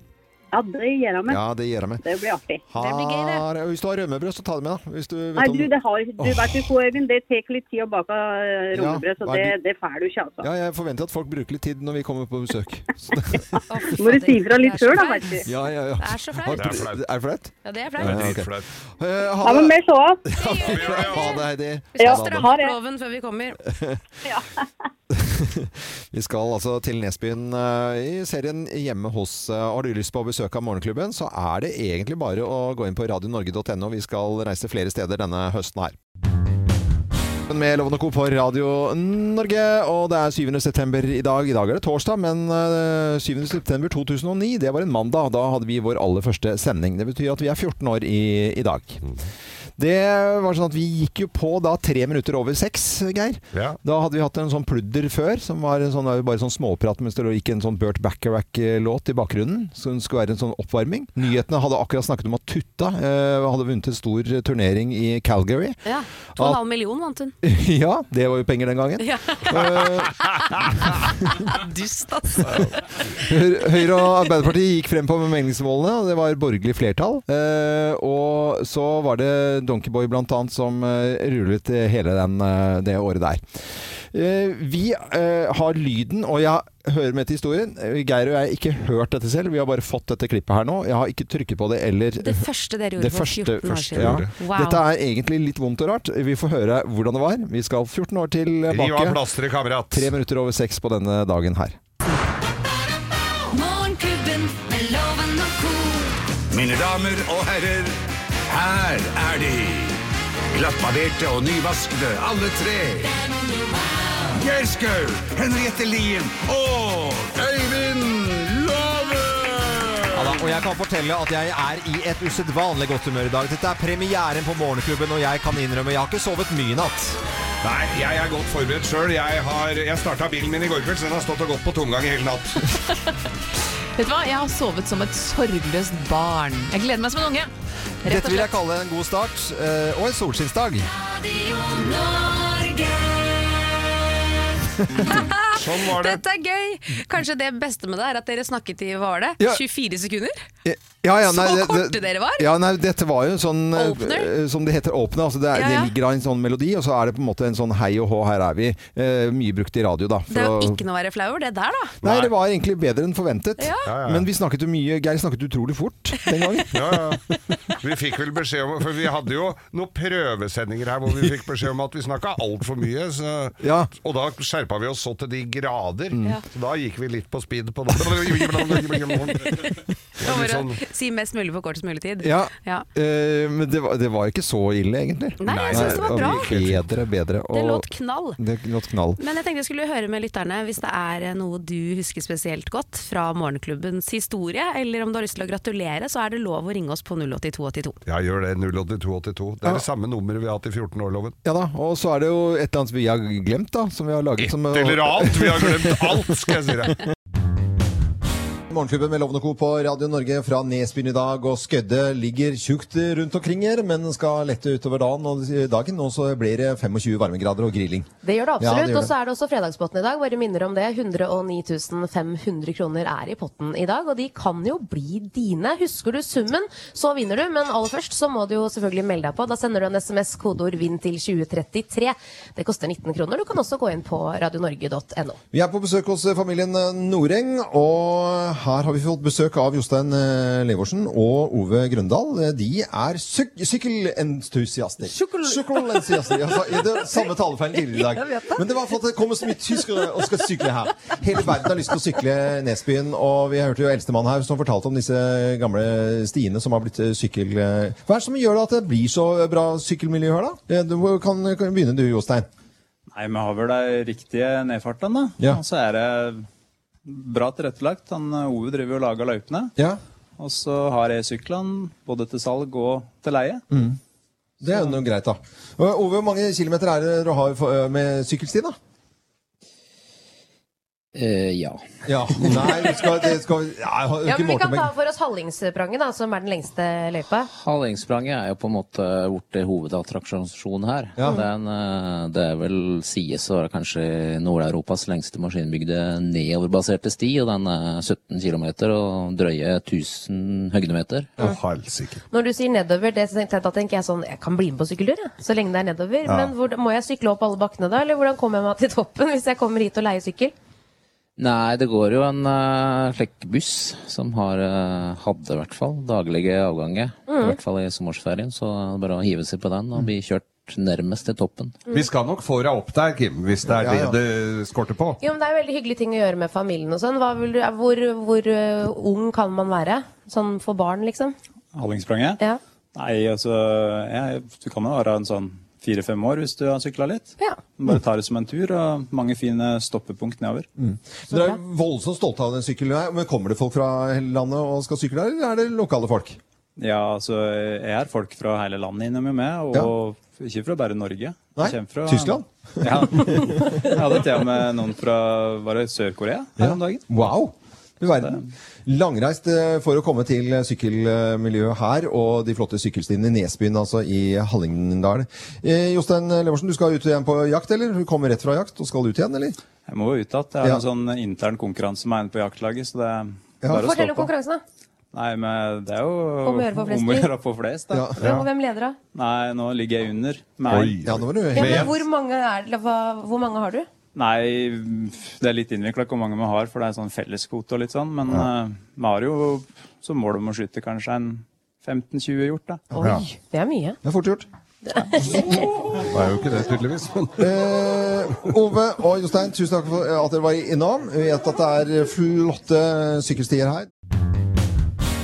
[SPEAKER 14] Ja, det gjør vi.
[SPEAKER 1] Ja, det gjør jeg med.
[SPEAKER 14] Det blir artig.
[SPEAKER 1] Har- Hvis du har rømmebrød, så ta det med, da. Hvis du vet
[SPEAKER 14] Nei,
[SPEAKER 1] om-
[SPEAKER 14] du, det har, du
[SPEAKER 1] Åh.
[SPEAKER 14] vet du, hvor, Øyvind, det tar litt tid å bake eh,
[SPEAKER 1] Ja,
[SPEAKER 14] rognebrød, så
[SPEAKER 1] hva
[SPEAKER 14] det,
[SPEAKER 1] er
[SPEAKER 14] det får du ikke, altså.
[SPEAKER 1] Ja, jeg forventer at folk bruker litt tid når vi kommer på besøk. Så det-
[SPEAKER 14] Må du si ifra litt
[SPEAKER 3] Det er så
[SPEAKER 14] sjøl, da,
[SPEAKER 3] flaut.
[SPEAKER 14] vet du.
[SPEAKER 1] Ja, ja, ja.
[SPEAKER 3] Det er så flaut.
[SPEAKER 1] Har- Er det flaut?
[SPEAKER 3] Ja, det er
[SPEAKER 1] Ja,
[SPEAKER 3] flaut.
[SPEAKER 1] ok. Eh,
[SPEAKER 14] Ja,
[SPEAKER 1] Ha
[SPEAKER 14] men
[SPEAKER 1] det.
[SPEAKER 14] vi ses.
[SPEAKER 1] Ha det, Heidi.
[SPEAKER 3] Vi skal
[SPEAKER 1] Ha det.
[SPEAKER 3] stramme opp loven før vi kommer.
[SPEAKER 1] Vi skal altså til Nesbyen eh, i serien Hjemme hos. eh, Har du lyst på å besøke av Morgenklubben, så er det egentlig bare å gå inn på radionorge.no. Vi skal reise til flere steder denne høsten her. Med Loven og Co. på Radio Norge, og det er 7. september i dag. I dag er det torsdag, men eh, 7. september 2009, det var en mandag. Da hadde vi vår aller første sending. Det betyr at vi er 14 år i, i dag. Det var sånn at vi gikk jo på da tre minutter over seks, Geir. Da hadde vi hatt en sånn pludder før, som var en sånn, det var jo bare sånn småprat mens det lå- gikk en sånn Burt Bacharach-låt i bakgrunnen. Som skulle være en sånn oppvarming. Nyhetene hadde akkurat snakket om at Tutta eh, hadde vunnet en stor turnering i Calgary.
[SPEAKER 3] Ja, 2,5 million vant hun.
[SPEAKER 1] ja, det var jo penger den gangen. Eh,
[SPEAKER 3] Ja. Dust, altså.
[SPEAKER 1] Høyre Høyre og Arbeiderpartiet gikk frem på meningsmålene, og det var borgerlig flertall. Eh, og så var det Donkeyboy blant annet som eh, rullet eh, hele den, eh, det året der. Eh, vi eh, har lyden, og jeg hører med til historien. Eh, Geir og jeg har ikke hørt dette selv, vi har bare fått dette klippet her nå. Jeg har ikke trykket på det eller
[SPEAKER 3] Det første dere gjorde
[SPEAKER 1] Det
[SPEAKER 3] for
[SPEAKER 1] første-
[SPEAKER 3] 14 år
[SPEAKER 1] første,
[SPEAKER 3] siden.
[SPEAKER 1] ja.
[SPEAKER 3] Wow.
[SPEAKER 1] Dette er egentlig litt vondt og rart. Vi får høre hvordan det var. Vi skal 14 år eh,
[SPEAKER 2] Riv av
[SPEAKER 1] tilbake.
[SPEAKER 2] plasteret, kamerat.
[SPEAKER 1] Tre minutter over seks på denne dagen her.
[SPEAKER 15] Morgenklubben med Loven og co.
[SPEAKER 16] Mine damer og herrer, her er de. Glattbarberte og nyvaskede, alle tre. Geir Skau, Henriette Lien og Øyvind Love!
[SPEAKER 1] Ja da, og jeg kan fortelle at jeg er i et usedvanlig godt humør i dag. Dette er premieren på Morgenklubben, og jeg kan innrømme jeg har ikke sovet mye i natt.
[SPEAKER 2] Nei, jeg er godt forberedt sjøl. Jeg, har- jeg starta bilen min i går kveld, så den har stått og gått på tomgang i hele natt.
[SPEAKER 17] Vet du hva, jeg har sovet som et sorgløst barn. Jeg gleder meg som en unge. Rett og
[SPEAKER 1] Dette vil jeg
[SPEAKER 17] slett.
[SPEAKER 1] kalle en god start, eh, og en solskinnsdag.
[SPEAKER 2] Sånn var det.
[SPEAKER 3] Dette er gøy! Kanskje det beste med det er at dere snakket i hva var det?
[SPEAKER 1] Ja.
[SPEAKER 3] 24 sekunder?
[SPEAKER 1] Ja, ja, nei,
[SPEAKER 3] Så
[SPEAKER 1] det-
[SPEAKER 3] korte
[SPEAKER 1] det-
[SPEAKER 3] dere var.
[SPEAKER 1] Ja, nei, dette var jo en sånn eh,
[SPEAKER 3] Opener?
[SPEAKER 1] eh, Som det heter åpne. Altså det, er,
[SPEAKER 3] Ja, ja.
[SPEAKER 1] det ligger da en sånn melodi, og så er det på en måte en sånn hei og hå, her er vi. Eh, mye brukt i radio, da. for
[SPEAKER 3] Det er jo
[SPEAKER 1] å-
[SPEAKER 3] ikke noe å være flau over, det der, da.
[SPEAKER 1] Nei, det var egentlig bedre enn forventet.
[SPEAKER 3] Ja.
[SPEAKER 2] Ja, ja, ja.
[SPEAKER 1] Men vi snakket jo mye Geir snakket utrolig fort den gangen.
[SPEAKER 2] Ja, ja. Vi fikk vel beskjed om For vi hadde jo noen prøvesendinger her hvor vi fikk beskjed om at vi snakka altfor mye. Så, Og da skjerpa vi oss så til de grader.
[SPEAKER 3] Mm. Ja.
[SPEAKER 2] Så da gikk vi litt på speed på det. Det var litt sånn
[SPEAKER 3] Si mest mulig på kortest mulig tid.
[SPEAKER 1] Ja, eh, men det var, det var ikke så ille, egentlig.
[SPEAKER 3] Nei, jeg synes det var bra.
[SPEAKER 1] Bedre, bedre.
[SPEAKER 3] Det låt knall.
[SPEAKER 1] Det låt knall.
[SPEAKER 3] Men jeg tenkte jeg skulle høre med lytterne hvis det er eh, noe du husker spesielt godt fra morgenklubbens historie, eller om du har lyst til å gratulere, så er det lov å ringe oss på 08282.
[SPEAKER 2] Ja, gjør det. 08282. Det er det samme nummeret vi har hatt i 14-årloven.
[SPEAKER 1] Ja da, og så er det jo et eller annet vi har glemt, da. Som vi har laget som
[SPEAKER 2] Et eller annet! Vi har glemt alt, skal jeg si deg.
[SPEAKER 1] Morgenklubben med Lovende Co. på Radio Norge fra Nesbyen i dag, og skøddet ligger tjukt rundt omkring her, men skal lette utover dagen, og dagen, og så blir det 25 varmegrader og grilling.
[SPEAKER 18] Det gjør det
[SPEAKER 1] Ja,
[SPEAKER 18] absolutt.
[SPEAKER 1] det gjør
[SPEAKER 18] Og så er det også fredagspotten i dag. Bare minner om det. 109 500 kroner er i potten i dag, og de kan jo bli dine. Husker du summen, så vinner du. Men aller først så må du jo selvfølgelig melde deg på. Da sender du en SMS kodeord 'vinn' til 2033. Det koster 19 kroner. Du kan også gå inn på radionorge.no.
[SPEAKER 1] Vi er på besøk hos familien eh, Noreng, og her har vi fått besøk av Jostein eh, Levorsen og Ove Grøndal. Eh, De er syk sykkelentusiaster. Sykkelentusiaster. Jeg sa jeg- Altså, det er samme talefeil tidligere i
[SPEAKER 19] Jeg vet
[SPEAKER 1] dag.
[SPEAKER 19] det.
[SPEAKER 1] Men det var for at det kommer så mye tyskere og skal sykle her. Hele verden har lyst til å sykle Nesbyen, og vi hørte jo eldstemann her som fortalte om disse gamle stiene som har blitt eh, sykkel... eh. Hva er det som gjør det at det blir så bra sykkelmiljø her, da? Eh, Du kan, kan begynne du, Jostein.
[SPEAKER 20] Nei, vi har vel de riktige nedfartene, da.
[SPEAKER 1] Ja.
[SPEAKER 20] Og så er det bra tilrettelagt. Han eh, Ove driver og lager løypene.
[SPEAKER 1] Ja.
[SPEAKER 20] Og så har jeg syklene både til salg og til leie.
[SPEAKER 1] Mm. Det er jo noe greit, da. Og Ove, hvor mange kilometer er det du har for- eh, med sykkelsti, da?
[SPEAKER 21] Eh,
[SPEAKER 20] ja.
[SPEAKER 1] Ja, nei, vi skal, det skal vi- Nei, jeg har
[SPEAKER 18] Ja,
[SPEAKER 1] ikke
[SPEAKER 18] men Vi kan
[SPEAKER 1] målt
[SPEAKER 18] ta
[SPEAKER 1] meg.
[SPEAKER 18] for oss Hallingspranget, da, som er den lengste løypa.
[SPEAKER 21] Hallingspranget er jo på en måte blitt hovedattraksjonen her.
[SPEAKER 1] Ja.
[SPEAKER 21] Det, er en, eh, det er vel sies å være kanskje Nord-Europas lengste maskinbygde nedoverbaserte sti, og den er 17 km og drøye 1000 høydemeter.
[SPEAKER 2] Ja, helsike.
[SPEAKER 18] Når du sier nedover, det, tenkte jeg- da tenker jeg sånn Jeg kan bli med på sykkeltur, jeg, så lenge det er nedover.
[SPEAKER 21] Ja.
[SPEAKER 18] Men hvor, må jeg sykle opp alle bakkene da, eller hvordan kommer jeg meg til toppen hvis jeg kommer hit og leier sykkel?
[SPEAKER 21] Nei, det går jo en eh, slik buss som har, eh, hadde i hvert fall daglige avganger. I
[SPEAKER 18] Mm.
[SPEAKER 21] hvert fall i sommerferien, så er det bare å hive seg på den og bli kjørt nærmest til toppen.
[SPEAKER 2] Mm. Vi skal nok få deg opp der, Kim, hvis det er
[SPEAKER 21] Ja, ja.
[SPEAKER 2] det det skorter på.
[SPEAKER 18] Jo, men Det er veldig hyggelige ting å gjøre med familien og sånn. Hva vil du, hvor hvor eh, ung kan man være? Sånn for barn, liksom?
[SPEAKER 20] Hallingspranget?
[SPEAKER 18] Ja.
[SPEAKER 20] Nei, altså jeg, Du kan jo være en sånn fire-fem år hvis du har sykla litt.
[SPEAKER 18] Ja.
[SPEAKER 20] Bare ta det som en tur, og mange fine stoppepunkt nedover.
[SPEAKER 1] Så Dere er voldsomt stolte av den sykkelen. her, Men kommer det folk fra hele landet og skal sykle der, eller er det lokale folk?
[SPEAKER 20] Ja, altså, jeg har folk fra hele landet innom med, og ikke fra bare Norge.
[SPEAKER 1] Nei,
[SPEAKER 20] Jeg kommer fra,
[SPEAKER 1] Tyskland?
[SPEAKER 20] Ja. Jeg hadde til og med noen fra var det Sør-Korea her om dagen.
[SPEAKER 1] Wow! Du verden. Langreist eh, for å komme til sykkelmiljøet her og de flotte sykkelstiene i Nesbyen, altså i Hallingdal. Eh, Jostein Leversen, du skal ut igjen på jakt, eller? Du kommer rett fra jakt og skal ut igjen, eller?
[SPEAKER 20] Jeg må jo ut igjen. Jeg har
[SPEAKER 1] Ja.
[SPEAKER 20] en sånn intern konkurranse med en på jaktlaget, så det er bare å
[SPEAKER 18] Fortell
[SPEAKER 20] stå
[SPEAKER 18] om
[SPEAKER 20] på.
[SPEAKER 18] konkurransen, da.
[SPEAKER 20] Nei, men det er jo
[SPEAKER 18] Om å gjøre å få flest
[SPEAKER 20] om å
[SPEAKER 18] til.
[SPEAKER 20] gjøre å få flest, da.
[SPEAKER 18] Og hvem leder, da?
[SPEAKER 20] Nei, nå ligger jeg under. Nei.
[SPEAKER 1] Oi. Ja, nå var du
[SPEAKER 18] Ja, men hvor, mange er, eller hva, hvor mange har du?
[SPEAKER 20] Nei, det er litt innvikla hvor mange vi har, for det er sånn felleskvote og litt sånn. Men eh, vi har jo som mål om å skyte kanskje en 15-20 hjort, da.
[SPEAKER 1] Oi. Ja.
[SPEAKER 18] Det er mye.
[SPEAKER 1] Det er fort gjort.
[SPEAKER 2] Det er jo ikke det, tydeligvis. Men
[SPEAKER 1] Eh, Ove og Jostein, tusen takk for at dere var innom. Vi vet at det er flotte sykkelstier her.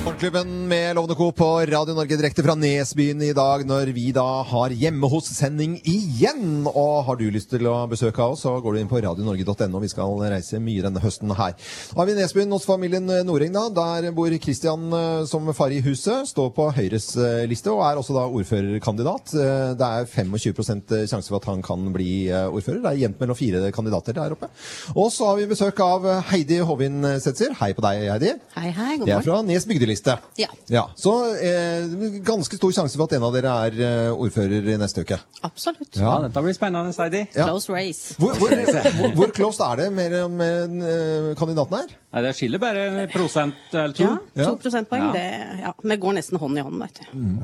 [SPEAKER 1] Morgenklubben med Lovende Co. på Radio Norge direkte fra Nesbyen i dag, når vi da har Hjemme hos-sending igjen. Og har du lyst til å besøke oss, så går du inn på radionorge.no. Vi skal reise mye denne høsten her. Da er vi i Nesbyen hos familien Noreng, da. Der bor Kristian som far i huset. Står på Høyres eh, liste, og er også da ordførerkandidat. Eh, Det er 25 sjanse for at han kan bli eh, ordfører. Det er jevnt mellom fire kandidater der oppe. Og så har vi besøk av Heidi Hovin Setzer. Hei på deg, Heidi.
[SPEAKER 13] Hei, hei, god
[SPEAKER 1] Det er
[SPEAKER 13] morgen.
[SPEAKER 1] fra Nes bygdeliste.
[SPEAKER 13] Ja,
[SPEAKER 1] Ja, Så eh, ganske stor sjanse for at en av dere er eh, ordfører i neste uke.
[SPEAKER 13] absolutt.
[SPEAKER 1] Ja.
[SPEAKER 13] dette blir spennende, Heidi. Close race.
[SPEAKER 1] Hvor, hvor, hvor, hvor close er det mer om eh, kandidaten her?
[SPEAKER 13] Nei, det skiller bare en prosent eller to. Ja, to
[SPEAKER 1] Ja.
[SPEAKER 13] prosentpoeng.
[SPEAKER 1] Ja.
[SPEAKER 13] Det, ja, vi går nesten hånd i hånd, vet du.
[SPEAKER 1] Mm.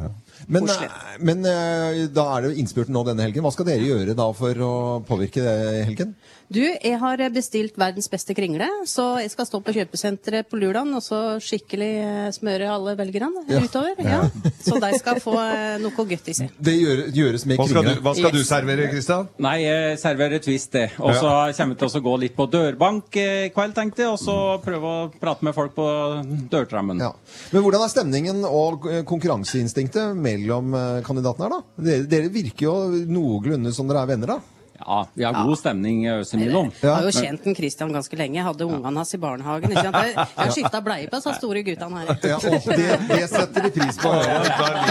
[SPEAKER 1] Men, eh, men eh, da er det jo innspurten nå denne helgen. Hva skal dere gjøre da for å påvirke det helgen?
[SPEAKER 13] Du, jeg har eh, bestilt verdens beste kringle, så jeg skal stå på kjøpesenteret på Lulan og så skikkelig eh, smøre alle velgerne
[SPEAKER 1] Ja.
[SPEAKER 13] utover. Ja. Så de skal få eh, noe godt i seg.
[SPEAKER 1] Det gjøres med
[SPEAKER 2] hva skal,
[SPEAKER 1] kringle.
[SPEAKER 2] du, hva skal du
[SPEAKER 13] Yes.
[SPEAKER 2] servere, Kristian?
[SPEAKER 13] Nei,
[SPEAKER 20] jeg serverer twist, det.
[SPEAKER 2] Og så
[SPEAKER 20] kommer vi til å gå litt på dørbank eh, i kveld, tenkte jeg. Og så prøve å prate med folk på dørtrammen.
[SPEAKER 1] Men hvordan er stemningen og eh, konkurranseinstinktet mellom eh, kandidatene her, da? Dere, dere virker jo noenlunde som dere er venner, da.
[SPEAKER 13] Ja,
[SPEAKER 20] vi har god stemning eh, i Øsemilom.
[SPEAKER 13] Jeg har jo kjent den Christian ganske lenge. Jeg hadde ungene hans i barnehagen. Ikke sant? Jeg, jeg har skifta bleie på disse store guttene her.
[SPEAKER 1] Ja, og det, det setter vi pris på.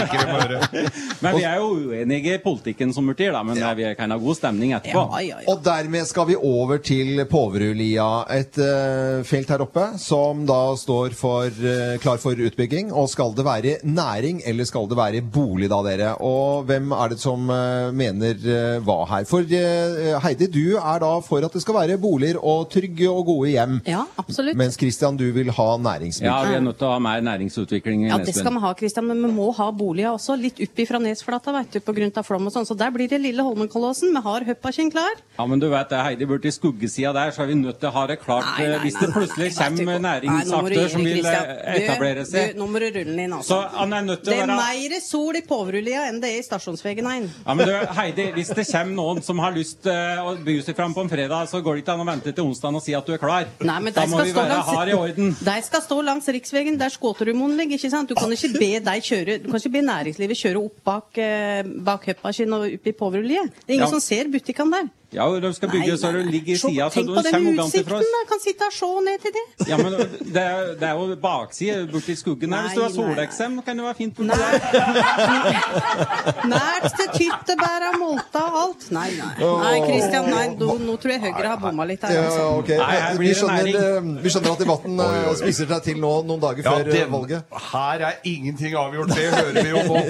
[SPEAKER 20] Men vi er jo uenige i politikken som urtir, da. Men vi kan ha god stemning etterpå.
[SPEAKER 1] Og dermed skal vi over til Poverudlia, et eh, felt her oppe som da står for, eh, klar for utbygging. Og skal det være næring, eller skal det være bolig da, dere? Og hvem er det som eh, mener eh, hva her? For eh, eh, Heidi, du er da for at det skal være boliger og trygge og gode hjem.
[SPEAKER 13] Ja, absolutt.
[SPEAKER 1] Mens Christian, du vil ha næringsbygg.
[SPEAKER 19] Ja, vi er nødt til å ha mer næringsutvikling i
[SPEAKER 13] Ja, det skal
[SPEAKER 19] Nesbøen.
[SPEAKER 13] man ha, Kristian, men vi må ha boliger også. Litt oppi fra Nesflata, vet du, pga. flom og sånn. Så der blir det lille Holmenkollåsen. Vi har Høppakinn klar.
[SPEAKER 19] Ja, men du vet det, Heidi, borti skuggesida der, så er vi nødt til å ha det klart. eh, Hvis det plutselig kommer
[SPEAKER 13] Nei, nå må du gi
[SPEAKER 19] næringsaktør som
[SPEAKER 13] deg,
[SPEAKER 19] vil eh,
[SPEAKER 13] Christian. Du,
[SPEAKER 19] etablere seg.
[SPEAKER 13] du, Nå må du rulle den inn, altså.
[SPEAKER 19] Så han er nødt til
[SPEAKER 13] Det
[SPEAKER 19] å
[SPEAKER 13] er
[SPEAKER 19] være
[SPEAKER 13] mer sol i Poverullia enn det er i Stasjonsvegen 1.
[SPEAKER 19] Ja, men du, Heidi, hvis det kommer noen som har lyst eh, å by seg fram på en fredag, så går det ikke an å vente til onsdag og si at du er klar.
[SPEAKER 13] Nei, men
[SPEAKER 19] da
[SPEAKER 13] de
[SPEAKER 19] må
[SPEAKER 13] skal
[SPEAKER 19] vi
[SPEAKER 13] stå
[SPEAKER 19] være
[SPEAKER 13] langs-
[SPEAKER 19] hard i orden.
[SPEAKER 13] De skal stå langs riksvegen der Skåterudmoen ligger. ikke sant? Du kan ikke be, de kjøre, du kan ikke be næringslivet kjøre opp bak, eh, bak høppa sin og opp i Poverullia. Det er ingen
[SPEAKER 19] Ja.
[SPEAKER 13] som ser butikkene der.
[SPEAKER 19] Ja, de skal
[SPEAKER 13] Nei,
[SPEAKER 19] bygge så
[SPEAKER 13] nei,
[SPEAKER 19] du
[SPEAKER 13] nei.
[SPEAKER 19] ligger i
[SPEAKER 13] Se-
[SPEAKER 19] sida, så
[SPEAKER 13] Tenk
[SPEAKER 19] du
[SPEAKER 13] på den
[SPEAKER 19] kommer uganger
[SPEAKER 13] utsikten,
[SPEAKER 19] fra oss.
[SPEAKER 13] da! Kan sitte og se ned til det.
[SPEAKER 19] Ja, men det er, det er jo bakside borti skuggen her. Hvis du har
[SPEAKER 13] Nei, nei,
[SPEAKER 19] soleksem, kan det være fint borti
[SPEAKER 13] Nært til tyttebæra, molta og alt. Nei, nei. Nei, Christian, nei, nå, nå tror jeg Høyre har bomma litt her.
[SPEAKER 1] Ja,
[SPEAKER 13] altså.
[SPEAKER 1] ok. vi, skjønner, eh, vi skjønner at debatten eh, spiser seg til nå noen dager
[SPEAKER 2] Ja,
[SPEAKER 1] før eh,
[SPEAKER 2] den-
[SPEAKER 1] valget.
[SPEAKER 2] Her er ingenting avgjort, det hører vi jo på.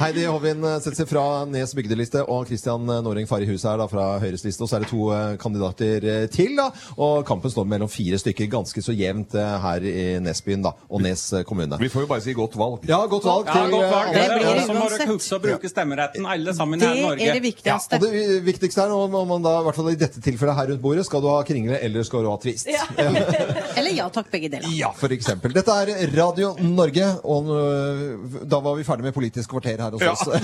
[SPEAKER 1] Heidi Hovin eh, setter seg fra Nes bygdeliste, og Christian eh, Noreng Farrihus er da fra Høyres liste. Og så er det to eh, kandidater eh, til, da. Og kampen står mellom fire stykker, ganske så jevnt eh, her i Nesbyen da, og Nes eh, kommune.
[SPEAKER 2] Vi får jo bare si godt valg.
[SPEAKER 1] Ja, godt valg
[SPEAKER 19] Ja,
[SPEAKER 1] til,
[SPEAKER 19] godt
[SPEAKER 1] eh,
[SPEAKER 19] valg. Det
[SPEAKER 1] alle.
[SPEAKER 19] blir
[SPEAKER 1] Ja.
[SPEAKER 19] også må dere huske å bruke stemmeretten, alle sammen her i Norge.
[SPEAKER 1] Ja, og det viktigste er nå om om man da, i hvert fall i dette tilfellet her rundt bordet, skal du ha kringle eller skal du ha twist?
[SPEAKER 13] Eller ja takk, begge deler.
[SPEAKER 1] Ja, for eksempel. Dette er Radio Norge, og øh, da var vi ferdig med Politisk kvarter her hos
[SPEAKER 2] Ja.
[SPEAKER 1] oss.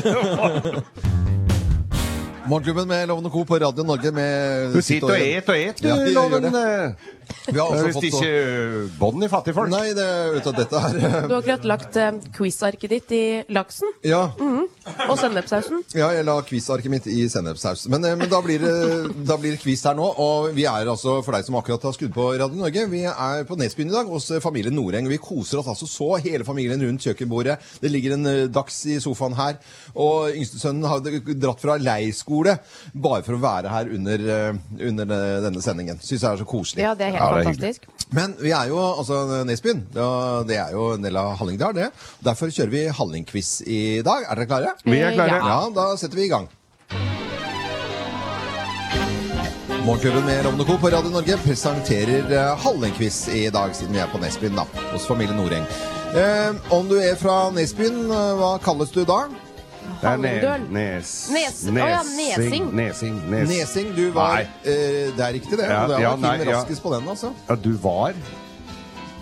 [SPEAKER 1] Morgenklubben med Loven og Co. på Radio Norge med
[SPEAKER 2] Du sitter og et og et, du,
[SPEAKER 1] Ja, vi gjør
[SPEAKER 2] Loven. øh,
[SPEAKER 1] det. Vi har også
[SPEAKER 2] Hvis
[SPEAKER 1] fått
[SPEAKER 2] ikke øh, bånd i fattigfolk.
[SPEAKER 1] Nei, det er ut av dette her.
[SPEAKER 18] Du har akkurat lagt eh, quiz-arket ditt i laksen.
[SPEAKER 1] Ja.
[SPEAKER 18] Mhm. Og sennepssausen.
[SPEAKER 1] Ja, jeg la quiz-arket mitt i sennepssaus. Men, eh, men da, blir det, da blir det quiz her nå. Og vi er altså, for deg som akkurat har skrudd på Radio Norge, vi er på Nesbyen i dag hos eh, familien Noreng. Vi koser oss altså så, hele familien rundt kjøkkenbordet. Det ligger en eh, dags i sofaen her. Og yngstesønnen har d- dratt fra leirskole bare for å være her under, eh, under eh, denne sendingen. Syns jeg er så koselig.
[SPEAKER 18] Ja, det er helt fantastisk.
[SPEAKER 1] Men vi er jo altså Nesbyen. Ja, det er jo en del av Hallingdal, det. Derfor kjører vi Hallingquiz i dag. Er dere klare?
[SPEAKER 2] Vi er klare.
[SPEAKER 1] Ja, da setter vi i gang. Morgenklubben med Lovende Co. på Radio Norge presenterer eh, Hallingquiz i dag, siden vi er på Nesbyen, da, hos familien Noreng. Eh, om du er fra Nesbyen, eh, hva kalles du da?
[SPEAKER 2] Det er ne- nes...
[SPEAKER 1] Nes-
[SPEAKER 2] nesing,
[SPEAKER 1] Å ja, nesing.
[SPEAKER 2] Nesing. nes-
[SPEAKER 1] Nesing, du var
[SPEAKER 2] Nei.
[SPEAKER 1] eh, Det er riktig, det.
[SPEAKER 2] Ja,
[SPEAKER 1] og det var
[SPEAKER 2] ja,
[SPEAKER 1] Kim
[SPEAKER 2] nei, ja.
[SPEAKER 1] raskest på den, altså.
[SPEAKER 2] Ja, du var?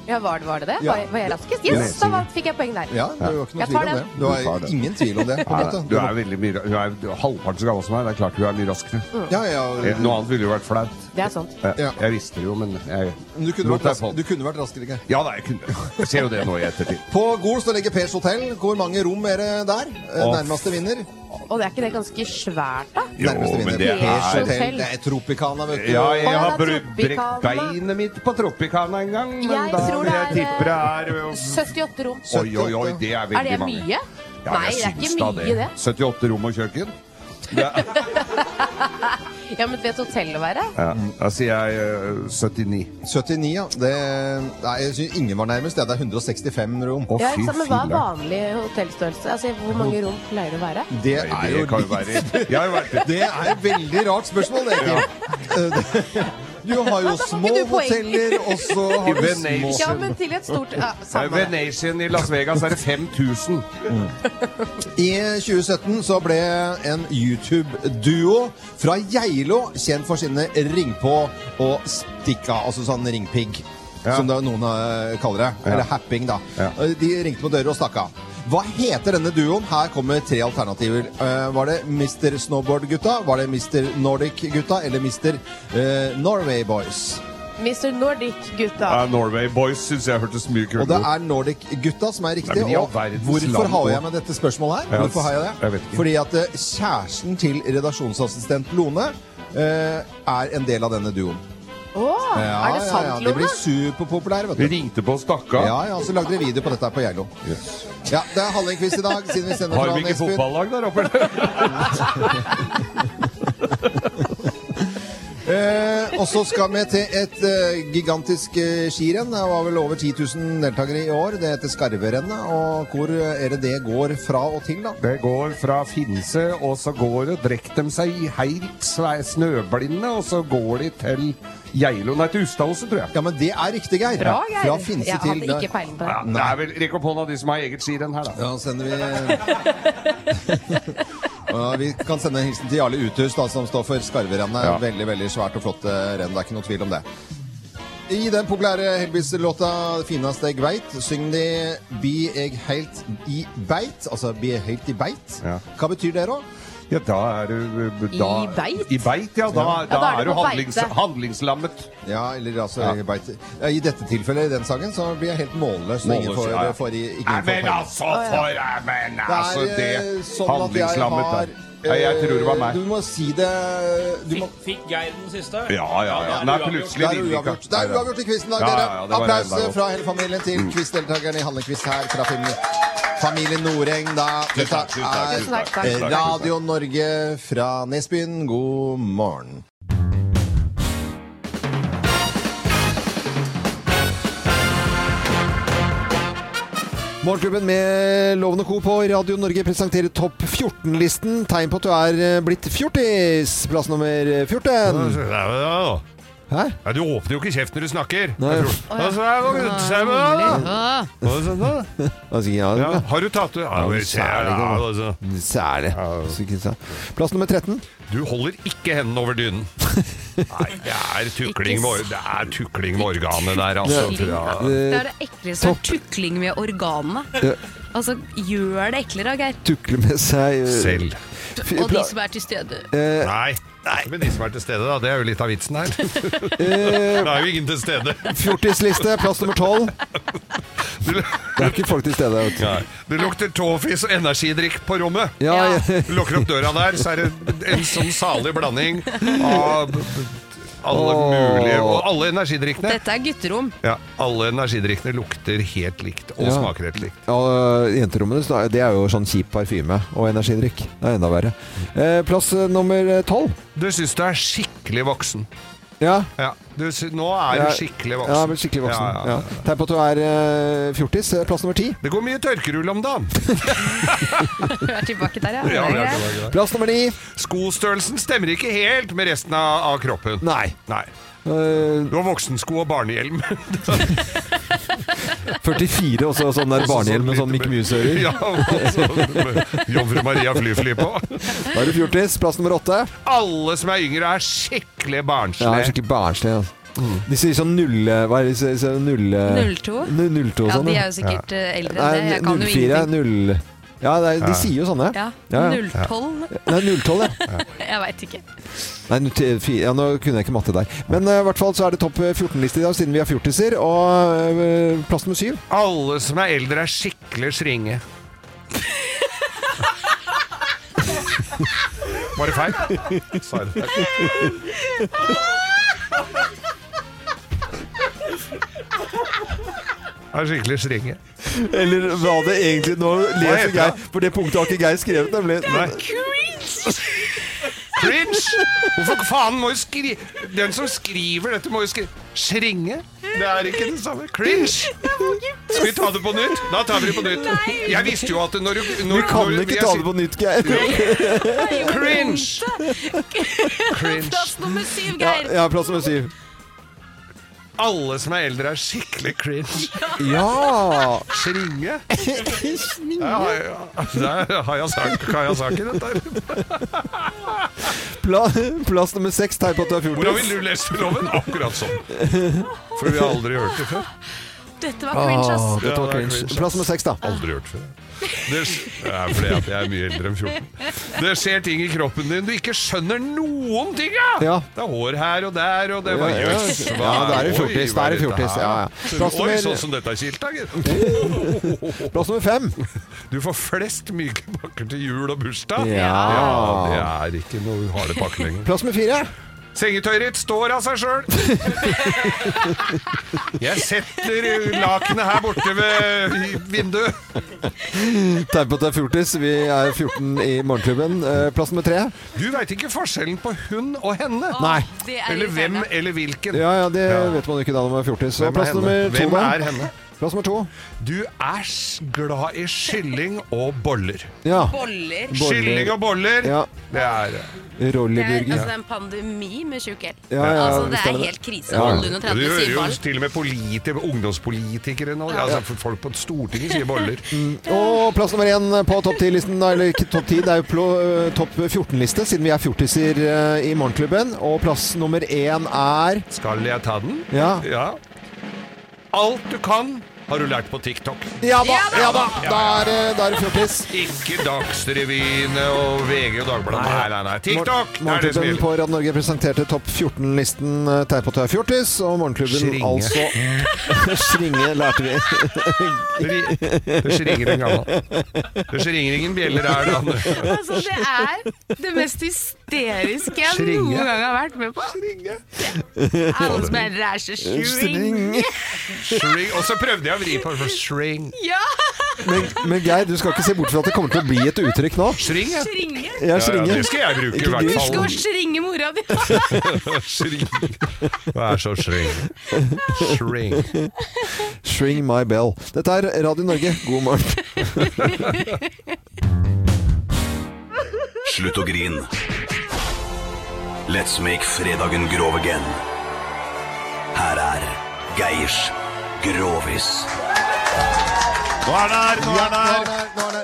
[SPEAKER 18] Ja, var det var det? det?
[SPEAKER 1] Ja.
[SPEAKER 18] Var, jeg- var jeg raskest? Yes, da var, fikk jeg poeng der.
[SPEAKER 1] Ja, det var ikke noe
[SPEAKER 18] Jeg tar
[SPEAKER 1] tvil om det.
[SPEAKER 18] den.
[SPEAKER 1] Det var ingen tvil om det, på en
[SPEAKER 2] Nei,
[SPEAKER 1] måte.
[SPEAKER 2] Du er veldig mye ra- Du er du er halvparten så gammel som meg. Det er klart du er mye raskere. Eh,
[SPEAKER 1] Ja, ja, ja.
[SPEAKER 2] Noe annet ville jo vært flaut.
[SPEAKER 18] Det er sant.
[SPEAKER 2] Jeg, jeg visste det jo, men jeg
[SPEAKER 1] Men Du kunne,
[SPEAKER 2] lot
[SPEAKER 1] vært
[SPEAKER 2] deg
[SPEAKER 1] rask,
[SPEAKER 2] få
[SPEAKER 1] du
[SPEAKER 2] det.
[SPEAKER 1] kunne vært raskere. ikke?
[SPEAKER 2] Ja, nei, jeg kunne Jeg ser jo det nå i ettertid.
[SPEAKER 1] På Gol så ligger Pers hotell. Hvor mange rom er det der? Eh,
[SPEAKER 2] Å,
[SPEAKER 1] Nærmeste vinner?
[SPEAKER 18] Og det er ikke det ganske svært, da?
[SPEAKER 2] Jo,
[SPEAKER 1] Nærmeste
[SPEAKER 2] men
[SPEAKER 1] vinner.
[SPEAKER 2] det
[SPEAKER 1] Pers
[SPEAKER 2] er-
[SPEAKER 1] hotell. Det er Tropicana, vet du.
[SPEAKER 2] Ja, jeg har
[SPEAKER 18] Å, det er
[SPEAKER 2] bru- brekt
[SPEAKER 18] Tropicana.
[SPEAKER 2] beinet mitt på Tropicana en gang, men
[SPEAKER 18] Jeg
[SPEAKER 2] da
[SPEAKER 18] tror
[SPEAKER 2] vil
[SPEAKER 18] det
[SPEAKER 2] jeg
[SPEAKER 18] er,
[SPEAKER 2] tipper det er um,
[SPEAKER 18] eh, 78 rom.
[SPEAKER 2] Oi, oi, oi, det er veldig
[SPEAKER 18] Er det
[SPEAKER 2] mange.
[SPEAKER 18] mye?
[SPEAKER 2] Ja,
[SPEAKER 18] Nei,
[SPEAKER 2] jeg
[SPEAKER 18] det er ikke
[SPEAKER 2] syns da
[SPEAKER 18] mye, det.
[SPEAKER 2] 78 rom og kjøkken. Det er,
[SPEAKER 18] Ja, men vet hotellet være?
[SPEAKER 2] ja, Mm, da sier jeg eh, 79.
[SPEAKER 1] 79, ja. Det, nei, jeg synes ingen var nærmest. Det er 165 rom.
[SPEAKER 18] ja, ikke sant, men hva er vanlig hotellstørrelse? Altså, Hvor mange rom pleier det å være?
[SPEAKER 1] Det
[SPEAKER 2] Nei,
[SPEAKER 1] er
[SPEAKER 2] det
[SPEAKER 1] jo
[SPEAKER 2] kan jo
[SPEAKER 1] litt-
[SPEAKER 2] være- Jeg har jo vært-
[SPEAKER 1] Det er et veldig rart spørsmål, det. Kim. Du har jo små
[SPEAKER 18] ikke du poeng.
[SPEAKER 1] hoteller, og så har du små
[SPEAKER 18] Ja, men til et stort ja,
[SPEAKER 2] Nei,
[SPEAKER 18] Samme det.
[SPEAKER 2] Venetian i Las Vegas er det 5000.
[SPEAKER 1] Mm. I 2017 så ble en YouTube-duo fra Geilo kjent for sine ring på og stikka, altså sånn ringpigg, som det er noen eh, kaller det.
[SPEAKER 2] Ja.
[SPEAKER 1] Eller happing, da. Eh, De ringte på dører og stakk av. Hva heter denne duoen? Her kommer tre alternativer. Eh, var det Mr. Snowboard-gutta, var det Mr. Nordic-gutta eller Mr. eh, Norway Boys?
[SPEAKER 18] Mr. Nordic-gutta.
[SPEAKER 2] Ja, Norway Boys syns jeg hørtes mye
[SPEAKER 1] Og
[SPEAKER 2] kult
[SPEAKER 1] det
[SPEAKER 2] ut.
[SPEAKER 1] er Nordic-gutta som er riktig.
[SPEAKER 2] Nei, men i all
[SPEAKER 1] og
[SPEAKER 2] verdens
[SPEAKER 1] hvorfor
[SPEAKER 2] land,
[SPEAKER 1] har
[SPEAKER 2] og-
[SPEAKER 1] jeg med dette spørsmålet her?
[SPEAKER 2] Ja,
[SPEAKER 1] Hvorfor har jeg det?
[SPEAKER 2] jeg vet ikke.
[SPEAKER 1] Fordi at eh, kjæresten til redaksjonsassistent Lone eh, er en del av denne duoen.
[SPEAKER 18] Å, Ah, er det sant,
[SPEAKER 1] Det
[SPEAKER 18] Lone?
[SPEAKER 1] blir superpopulære, vet
[SPEAKER 2] Vi
[SPEAKER 1] du.
[SPEAKER 2] ringte på og stakk av.
[SPEAKER 1] Ja, ja, så lagde dere video på dette her på Geilo. Ja, det er Hallingquiz i dag, siden vi sender
[SPEAKER 2] Har
[SPEAKER 1] fra
[SPEAKER 2] vi ikke
[SPEAKER 1] Nesbyen.
[SPEAKER 2] fotballag der oppe?
[SPEAKER 1] Eh, Og så skal vi til et eh, gigantisk eh, skirenn. Det var vel over 10 000 deltakere i år. Det heter Skarverennet. Og hvor eh, er det det går fra og til, da?
[SPEAKER 2] Det går fra Finse, og så går det, drekk dem seg i heilt sve- snøblinde, og så går de til Geilo, nei til Ustadhuset, tror jeg.
[SPEAKER 1] Ja, men det er riktig, Geir.
[SPEAKER 2] Bra,
[SPEAKER 1] Geir. Fra Finse Jeg hadde til- ikke peiling på det.
[SPEAKER 2] Ja, det er vel, Rekk opp hånda de som har eget skirenn her, da.
[SPEAKER 1] Ja, sender vi Ja, vi kan sende en hilsen til Jarle Uthus, da, som står for Skarverennet.
[SPEAKER 2] Ja.
[SPEAKER 1] Veldig veldig svært og flott eh, renn. Det er ikke noe tvil om det. I den populære Helbis-låta 'Finast eg veit' synger de 'Bi eg heilt i beit'. Altså 'Bi eg heilt i beit'. Hva betyr det, da?
[SPEAKER 2] Ja, da er du eh, da- I beit? i beit, ja, da- Ja, da da er er du du på handlings- beite. handlingslammet.
[SPEAKER 1] Ja, eller altså
[SPEAKER 2] Ja.
[SPEAKER 1] i beit. Ja, I dette tilfellet, i den sangen, så blir jeg helt målløs. og
[SPEAKER 2] Målløs,
[SPEAKER 1] ingen får,
[SPEAKER 2] ja, ja.
[SPEAKER 1] får, i- ikke
[SPEAKER 2] Nei,
[SPEAKER 1] får
[SPEAKER 2] men
[SPEAKER 1] poeng.
[SPEAKER 2] altså, for ja, men,
[SPEAKER 1] Det er,
[SPEAKER 2] altså, det
[SPEAKER 1] eh, sånn at jeg
[SPEAKER 2] Handlingslammet
[SPEAKER 1] har, eh,
[SPEAKER 2] der. Nei, jeg tror det var meg.
[SPEAKER 1] Du må si det du må...
[SPEAKER 22] Fikk Geir den siste?
[SPEAKER 2] Ja, ja, ja.
[SPEAKER 1] det er
[SPEAKER 2] Nei,
[SPEAKER 1] uavgjort.
[SPEAKER 2] plutselig
[SPEAKER 1] Det er
[SPEAKER 2] vinner vi ikke.
[SPEAKER 1] uavgjort. Det er uavgjort i quizen i dag,
[SPEAKER 2] Ja,
[SPEAKER 1] dere.
[SPEAKER 2] ja, ja, det var Mm.
[SPEAKER 1] Applaus
[SPEAKER 2] det, det var-
[SPEAKER 1] fra hele familien til quizdeltakerne i Handlequiz her fra filmen. Familien Noreng, da.
[SPEAKER 2] Tusen takk, tusen takk, tusen takk, tusen
[SPEAKER 1] er
[SPEAKER 2] takk.
[SPEAKER 1] Radio Norge fra Nesbyen. God morgen. Morgenklubben med Loven og Co. på Radio Norge presenterer Topp 14-listen. Tegn på at du er eh, blitt fjortis. Plass nummer 14. Hæ?
[SPEAKER 2] Ja, du åpner jo ikke kjeft når du snakker.
[SPEAKER 1] Nei.
[SPEAKER 2] Jeg tror- Og så er det- så er det- Og så- så-
[SPEAKER 1] Hva sier jeg?
[SPEAKER 2] Ja, har du tatt det? Ja, men, se her, ja, altså.
[SPEAKER 1] Særlig. Plass nummer 13.
[SPEAKER 2] Du holder ikke hendene over dynen. Nei, det er tukling med, or- det er tukling med organet der, altså.
[SPEAKER 3] Tukling,
[SPEAKER 2] Ja.
[SPEAKER 3] Det er det ekleste. Det er tukling med organene.
[SPEAKER 1] Ja.
[SPEAKER 3] Altså, gjør det eklere, Geir.
[SPEAKER 1] Tukle med seg
[SPEAKER 2] Selv.
[SPEAKER 3] Og de som er til stede.
[SPEAKER 2] Nei. Nei, men de som er til stede, da. Det er jo litt av vitsen her.
[SPEAKER 1] Eh,
[SPEAKER 2] Det er jo ingen til stede.
[SPEAKER 1] Fjortisliste, plass nummer 12. Det er ikke folk til stede. Vet du.
[SPEAKER 2] Det lukter tåfis og energidrikk på rommet.
[SPEAKER 1] Ja,
[SPEAKER 2] Du lukker opp døra der, så er det en sånn salig blanding av alle
[SPEAKER 1] Åh.
[SPEAKER 2] mulige Og alle energidrikkene.
[SPEAKER 3] Dette er gutterom.
[SPEAKER 2] Ja, alle energidrikkene lukter helt likt og
[SPEAKER 1] Ja.
[SPEAKER 2] smaker helt likt.
[SPEAKER 1] Og jenterommene så det er jo sånn kjip parfyme og energidrikk. Det er enda verre. Eh, Plass eh, nummer 12.
[SPEAKER 2] Du syns du er skikkelig voksen.
[SPEAKER 1] Ja.
[SPEAKER 2] Ja, du sy nå er du skikkelig voksen.
[SPEAKER 1] Ja, jeg er skikkelig voksen.
[SPEAKER 2] Ja, ja, ja.
[SPEAKER 1] Ja. Tegn på at du er eh, fjortis. Eh, Plass nummer 10.
[SPEAKER 2] Det går mye tørkerull om dagen.
[SPEAKER 3] Du er tilbake der, ja.
[SPEAKER 2] Ja,
[SPEAKER 3] Det er
[SPEAKER 2] det er
[SPEAKER 3] greit.
[SPEAKER 2] ikke bra.
[SPEAKER 1] Plass nummer ni.
[SPEAKER 2] Skostørrelsen stemmer ikke helt med resten av, av kroppen.
[SPEAKER 1] Nei. Eh, Du
[SPEAKER 2] har voksensko og barnehjelm.
[SPEAKER 1] 44, og så sånn der barnehjelm med sånn Mikke Mus-ører.
[SPEAKER 2] Ja, og så- Jomfru Maria flyfly på.
[SPEAKER 1] Da er du fjortis. Plass nummer 8.
[SPEAKER 2] Alle som er yngre, er skikkelig
[SPEAKER 1] Ja,
[SPEAKER 2] barnslige.
[SPEAKER 1] skikkelig barnslig. Altså.
[SPEAKER 2] Mm.
[SPEAKER 1] De sier sånn null... Hva er det de sier? Sånn Null...
[SPEAKER 3] 02?
[SPEAKER 1] Null- 02
[SPEAKER 3] Ja,
[SPEAKER 1] sånn,
[SPEAKER 3] de er jo sikkert eh, eldre enn det. Jeg kan jo
[SPEAKER 1] 04,
[SPEAKER 3] ingenting.
[SPEAKER 1] null... Ja, det er,
[SPEAKER 2] Ja.
[SPEAKER 1] de sier jo sånne.
[SPEAKER 3] Ja,
[SPEAKER 1] Ja, ja.
[SPEAKER 3] 012.
[SPEAKER 1] Nei, 012, ja.
[SPEAKER 3] Jeg veit ikke.
[SPEAKER 1] Nei, nu- til fi- ja, nå kunne jeg ikke matte der. Men eh, i hvert fall så er det topp 14-liste i dag, siden vi er fjortiser. Og eh, plass nummer syv.
[SPEAKER 2] Alle som er eldre, er skikkelig sringe. Var det feil? Sa jeg det Er skikkelig sringe.
[SPEAKER 1] Eller hva det egentlig Nå leser
[SPEAKER 2] heter
[SPEAKER 1] Geir,
[SPEAKER 2] det?
[SPEAKER 1] for det punktet har ikke Geir skrevet, nemlig.
[SPEAKER 2] Cringe! Hvorfor faen må jo skri... Den som skriver dette, må jo skrive Sringe? Det er ikke det samme. Cringe! Skal vi ta det på nytt? Da tar vi det på nytt. Jeg visste jo at når du når,
[SPEAKER 1] Vi kan
[SPEAKER 2] når-
[SPEAKER 1] ikke
[SPEAKER 2] jeg
[SPEAKER 1] ta
[SPEAKER 2] sy-
[SPEAKER 1] det på nytt, Geir.
[SPEAKER 2] Cringe! Cringe.
[SPEAKER 3] Plass nummer syv,
[SPEAKER 1] Ja,
[SPEAKER 3] Geir.
[SPEAKER 1] ja, plass nummer syv.
[SPEAKER 2] Alle som er eldre, er skikkelig cringe.
[SPEAKER 1] Ja!
[SPEAKER 2] Sringe? Der har jeg- Der har jeg sak- har jeg saken, dette her.
[SPEAKER 1] Pla, plass nummer seks, tegn på at du er
[SPEAKER 2] Hvordan vil
[SPEAKER 1] fjortis.
[SPEAKER 2] du lese loven? Akkurat sånn. For vi har aldri hørt det før.
[SPEAKER 3] Dette var cringe,
[SPEAKER 1] Ah,
[SPEAKER 3] ass.
[SPEAKER 1] dette
[SPEAKER 2] Ja,
[SPEAKER 1] var
[SPEAKER 2] det er
[SPEAKER 1] cringe.
[SPEAKER 2] cringe, ass.
[SPEAKER 1] Plass nummer seks, da.
[SPEAKER 2] Aldri hørt før. Det, sk- det er fordi at jeg er mye eldre enn 14. Det skjer ting i kroppen din du ikke skjønner noen ting av!
[SPEAKER 1] Ja.
[SPEAKER 2] Det er hår her og der, og det var
[SPEAKER 1] Ja, ja.
[SPEAKER 2] jøss. hva
[SPEAKER 1] Ja, det er en
[SPEAKER 2] oi, hva
[SPEAKER 1] fjortis, det er en
[SPEAKER 2] dette
[SPEAKER 1] fjortis,
[SPEAKER 2] her?
[SPEAKER 1] ja, ja.
[SPEAKER 2] Så-
[SPEAKER 1] Plass
[SPEAKER 2] Oi,
[SPEAKER 1] nummer-
[SPEAKER 2] sånn som dette er kilt, da, gitt.
[SPEAKER 1] Plass nummer fem.
[SPEAKER 2] Du får flest myke pakker til jul og bursdag.
[SPEAKER 1] Ja.
[SPEAKER 2] det er ikke noe harde pakker lenger.
[SPEAKER 1] Plass nummer fire.
[SPEAKER 2] Sengetøyet ditt står av seg sjøl! Jeg setter lakenet her borte ved vinduet.
[SPEAKER 1] Tegn på at det er fjortis. Vi er 14 i Morgenklubben. Eh, Plass nummer tre.
[SPEAKER 2] Du veit ikke forskjellen på hun og henne.
[SPEAKER 1] Nei.
[SPEAKER 2] Eller hvem eller hvilken.
[SPEAKER 1] Ja, ja, det vet man jo ikke da når man er fjortis. Så
[SPEAKER 2] Hvem er
[SPEAKER 1] plass
[SPEAKER 2] henne?
[SPEAKER 1] nummer to,
[SPEAKER 2] Hvem
[SPEAKER 1] da.
[SPEAKER 2] er henne?
[SPEAKER 1] Plass nummer to.
[SPEAKER 2] Du er s- glad i kylling og boller.
[SPEAKER 1] Ja.
[SPEAKER 4] Boller.
[SPEAKER 2] Kylling og boller.
[SPEAKER 1] Ja.
[SPEAKER 2] Det er
[SPEAKER 4] Det er,
[SPEAKER 1] Rolleburger.
[SPEAKER 4] altså, det er en pandemi med tjukk el.
[SPEAKER 1] Ja, ja,
[SPEAKER 4] altså, det er
[SPEAKER 1] stemmer det.
[SPEAKER 4] helt krise. Alle under
[SPEAKER 2] Du
[SPEAKER 4] 30
[SPEAKER 2] hører
[SPEAKER 4] sier
[SPEAKER 2] jo
[SPEAKER 4] ball.
[SPEAKER 2] til og med politi- ungdomspolitikere nå.
[SPEAKER 4] Ja.
[SPEAKER 2] Altså, folk på Stortinget sier boller.
[SPEAKER 1] Mm. Og plass nummer én på topp 10-listen, da, eller ikke topp 10, det er jo plo- eh, topp 14-liste, siden vi er fjortiser eh, i Morgenklubben. Og plass nummer én er
[SPEAKER 2] Skal jeg ta den?
[SPEAKER 1] Ja.
[SPEAKER 2] Alt du kan, har du lært på TikTok.
[SPEAKER 1] Ja da! ja da, Da er det- da er det fjortis.
[SPEAKER 2] Ikke Dagsrevyene og VG og Dagbladet. Nei, nei, nei. TikTok! Det er det som
[SPEAKER 1] Morgenklubben
[SPEAKER 2] gjelder.
[SPEAKER 1] på Radio Norge presenterte topp 14-listen eh, tegn på at du er fjortis, og Morgenklubben
[SPEAKER 2] Sringe.
[SPEAKER 1] altså Sringe lærte vi. altså.
[SPEAKER 2] Det ringer en gammel. Det ringer ingen bjeller her, da.
[SPEAKER 17] Altså, det er det mest hysteriske jeg
[SPEAKER 2] Sringe.
[SPEAKER 17] noen gang har vært med på. Alle som er ræsje
[SPEAKER 1] Sringe.
[SPEAKER 2] Shring. Og så prøvde jeg å vri på det, for shring.
[SPEAKER 17] Ja!
[SPEAKER 1] Men, men Geir, du skal ikke se bort fra at det kommer til å bli et uttrykk nå.
[SPEAKER 2] Sring, ja.
[SPEAKER 17] Sringe.
[SPEAKER 1] Ja, sringe.
[SPEAKER 2] det skal jeg bruke i
[SPEAKER 1] Ikke
[SPEAKER 2] hvert
[SPEAKER 1] du.
[SPEAKER 2] fall.
[SPEAKER 17] Husk å sringe mora di!
[SPEAKER 2] Shring. Vær så shring. Shring.
[SPEAKER 1] Shring my bell. Dette er Radio Norge, god morgen.
[SPEAKER 6] Slutt å grin. Let's make fredagen grov again. Her er Geirs Grovis.
[SPEAKER 23] Nå er det her! Nå er det her!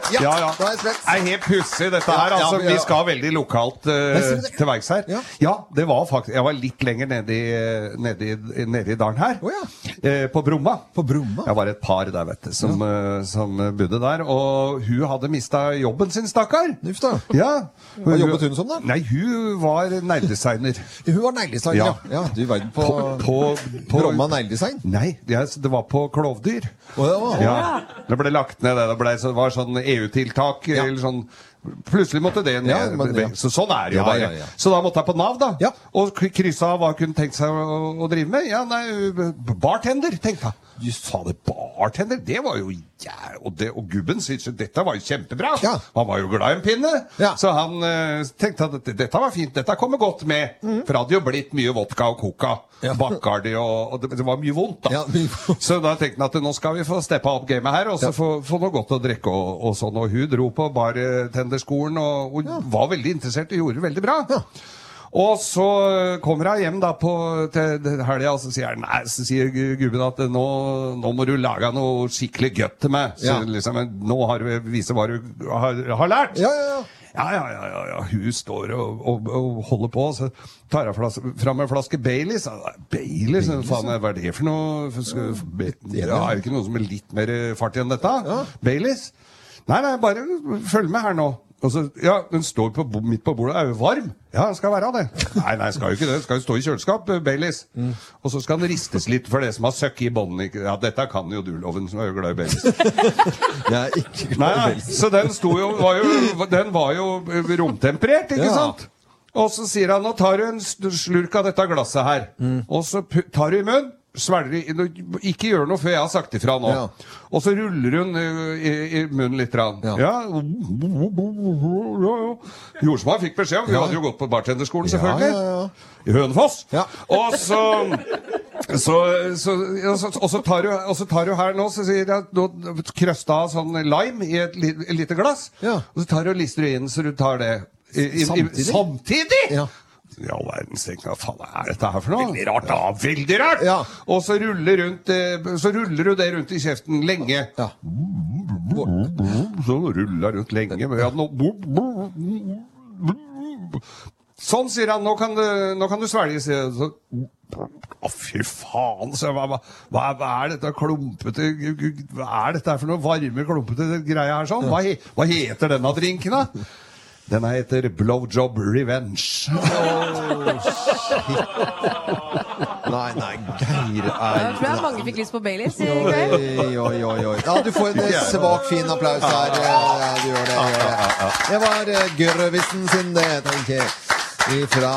[SPEAKER 24] Ja,
[SPEAKER 2] Ja, ja.
[SPEAKER 24] da er jeg spent.
[SPEAKER 2] Det er helt pussig, dette her.
[SPEAKER 24] Ja, ja,
[SPEAKER 2] altså,
[SPEAKER 24] men-
[SPEAKER 2] Vi skal veldig lokalt eh,
[SPEAKER 24] Men sier du det?
[SPEAKER 2] til verks her. Ja. det var faktisk Jeg var litt lenger nede i, nede i, nede i dalen her. Eh, på Bromma. Jeg var et par der, vet du, som, eh, som eh, bodde der. Og hun hadde mista jobben sin, stakkar. Ja.
[SPEAKER 24] Hva jobbet hun som, da?
[SPEAKER 2] Nei, hun var negledesigner.
[SPEAKER 24] Hun var negledesigner, ja. ja. Du verden på,
[SPEAKER 2] på, på
[SPEAKER 24] Bromma negledesign?
[SPEAKER 2] Nei, det er- det var på klovdyr.
[SPEAKER 24] Å, ja.
[SPEAKER 2] Ja. Det ble lagt ned, det. Det, ble, så, det var sånn EU-tiltak eller sånn Plutselig måtte det ned.
[SPEAKER 24] Ja, men- ja.
[SPEAKER 2] Så sånn er det jo
[SPEAKER 24] Ja,
[SPEAKER 2] bare.
[SPEAKER 24] ja, ja.
[SPEAKER 2] Så da måtte jeg på Nav, da. Og k- kryssa av hva hun kunne tenkt seg å, å drive med. Ja, nei, b- bartender, tenkte jeg. Du sa det, bartender? Det var jo jæv... Og, det, og gubben syntes jo dette var jo kjempebra. Han var jo glad i en pinne. Så han eh, tenkte at dette, dette var fint, dette kommer godt med. For det hadde jo blitt mye vodka og coca. Bacardi og, og det, det var mye vondt, da. så da tenkte han at nå skal vi få steppa opp gamet her, og så få, få noe godt å drikke og, og sånn. Og hun dro på bartenderskolen og, og var veldig interessert og gjorde det veldig bra. Og så kommer hun hjem da på, til til helga, og så sier, han, nei, så sier gu- gubben at nå, nå må du lage noe skikkelig gøtt til meg. Så
[SPEAKER 24] Ja.
[SPEAKER 2] liksom, nå har du vise hva du har, har lært. Ja, ja, ja. Ja, ja, ja, ja. Hun står og, og, og holder på, så tar hun flas- fram en flaske Baileys. Ja, Baileys? Faen, eh, hva er det for noe? For skal- Be- Ja, er det ikke noe som er litt mer eh, fart enn dette? Baileys? Nei, nei, bare følg med her nå. Og så, ja, Den står på, bo- midt på bordet. Er jo varm? Ja, den skal være det. Nei, nei, skal jo ikke det. Den skal jo stå i kjøleskap, eh, Baileys. Og så skal den ristes litt for det som har søkket i båndene. ikke- Ja, dette kan jo du, Loven, som er jo glad i Baileys.
[SPEAKER 24] Jeg er ikke
[SPEAKER 2] Nei, nei. Så den sto jo, var jo Den var jo romtemperert, ikke
[SPEAKER 24] Ja.
[SPEAKER 2] sant? Og så sier han nå tar du en st- slurk av dette glasset her.
[SPEAKER 24] Mm.
[SPEAKER 2] Og så pu- tar du i munnen, svelger i nå- Ikke gjør noe før jeg har sagt ifra nå.
[SPEAKER 24] Ja.
[SPEAKER 2] Og så ruller hun ø, i, i munnen litt. Rann. Ja. Gjorde som han fikk beskjed om. Hun hadde jo gått på bartenderskolen, selvfølgelig. I Hønefoss. Og så så, så, og så, og så tar du, og så tar du her nå Så sier jeg at nå krøsta av sånn lime i et, li, et lite glass Og så tar du og lister du inn Så du tar det i, i,
[SPEAKER 24] Samtidig?
[SPEAKER 2] I, samtidig? Ja i all verdens ting, hva faen er dette her for noe? Veldig rart, da. Veldig rart! Og så ruller, rundt, eh, så ruller du det rundt i kjeften lenge.
[SPEAKER 1] Sånn
[SPEAKER 2] Så ruller jeg rundt lenge med at nå Sånn, sier han. Nå kan du, nå kan du svelge, sier jeg. Så, å, fy faen, så hva, hva, hva er- hva er dette klumpete gu- gu- Hva er dette her for noe varme, klumpete greia her sånn? Hva, he- hva heter denne drinken, da? Den her heter Blowjob Revenge.
[SPEAKER 24] Nei, nei, Geir
[SPEAKER 18] Jeg tror jeg
[SPEAKER 24] er
[SPEAKER 18] mange fikk lyst på Baileys.
[SPEAKER 24] Oi, oi, oi, oi. Ja, du får en eh, svak, fin applaus her. Eh, Ja, du gjør det. du gjør Det Det var eh, Grøvisen sin, det, tenker jeg. Ifra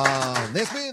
[SPEAKER 24] Nesby.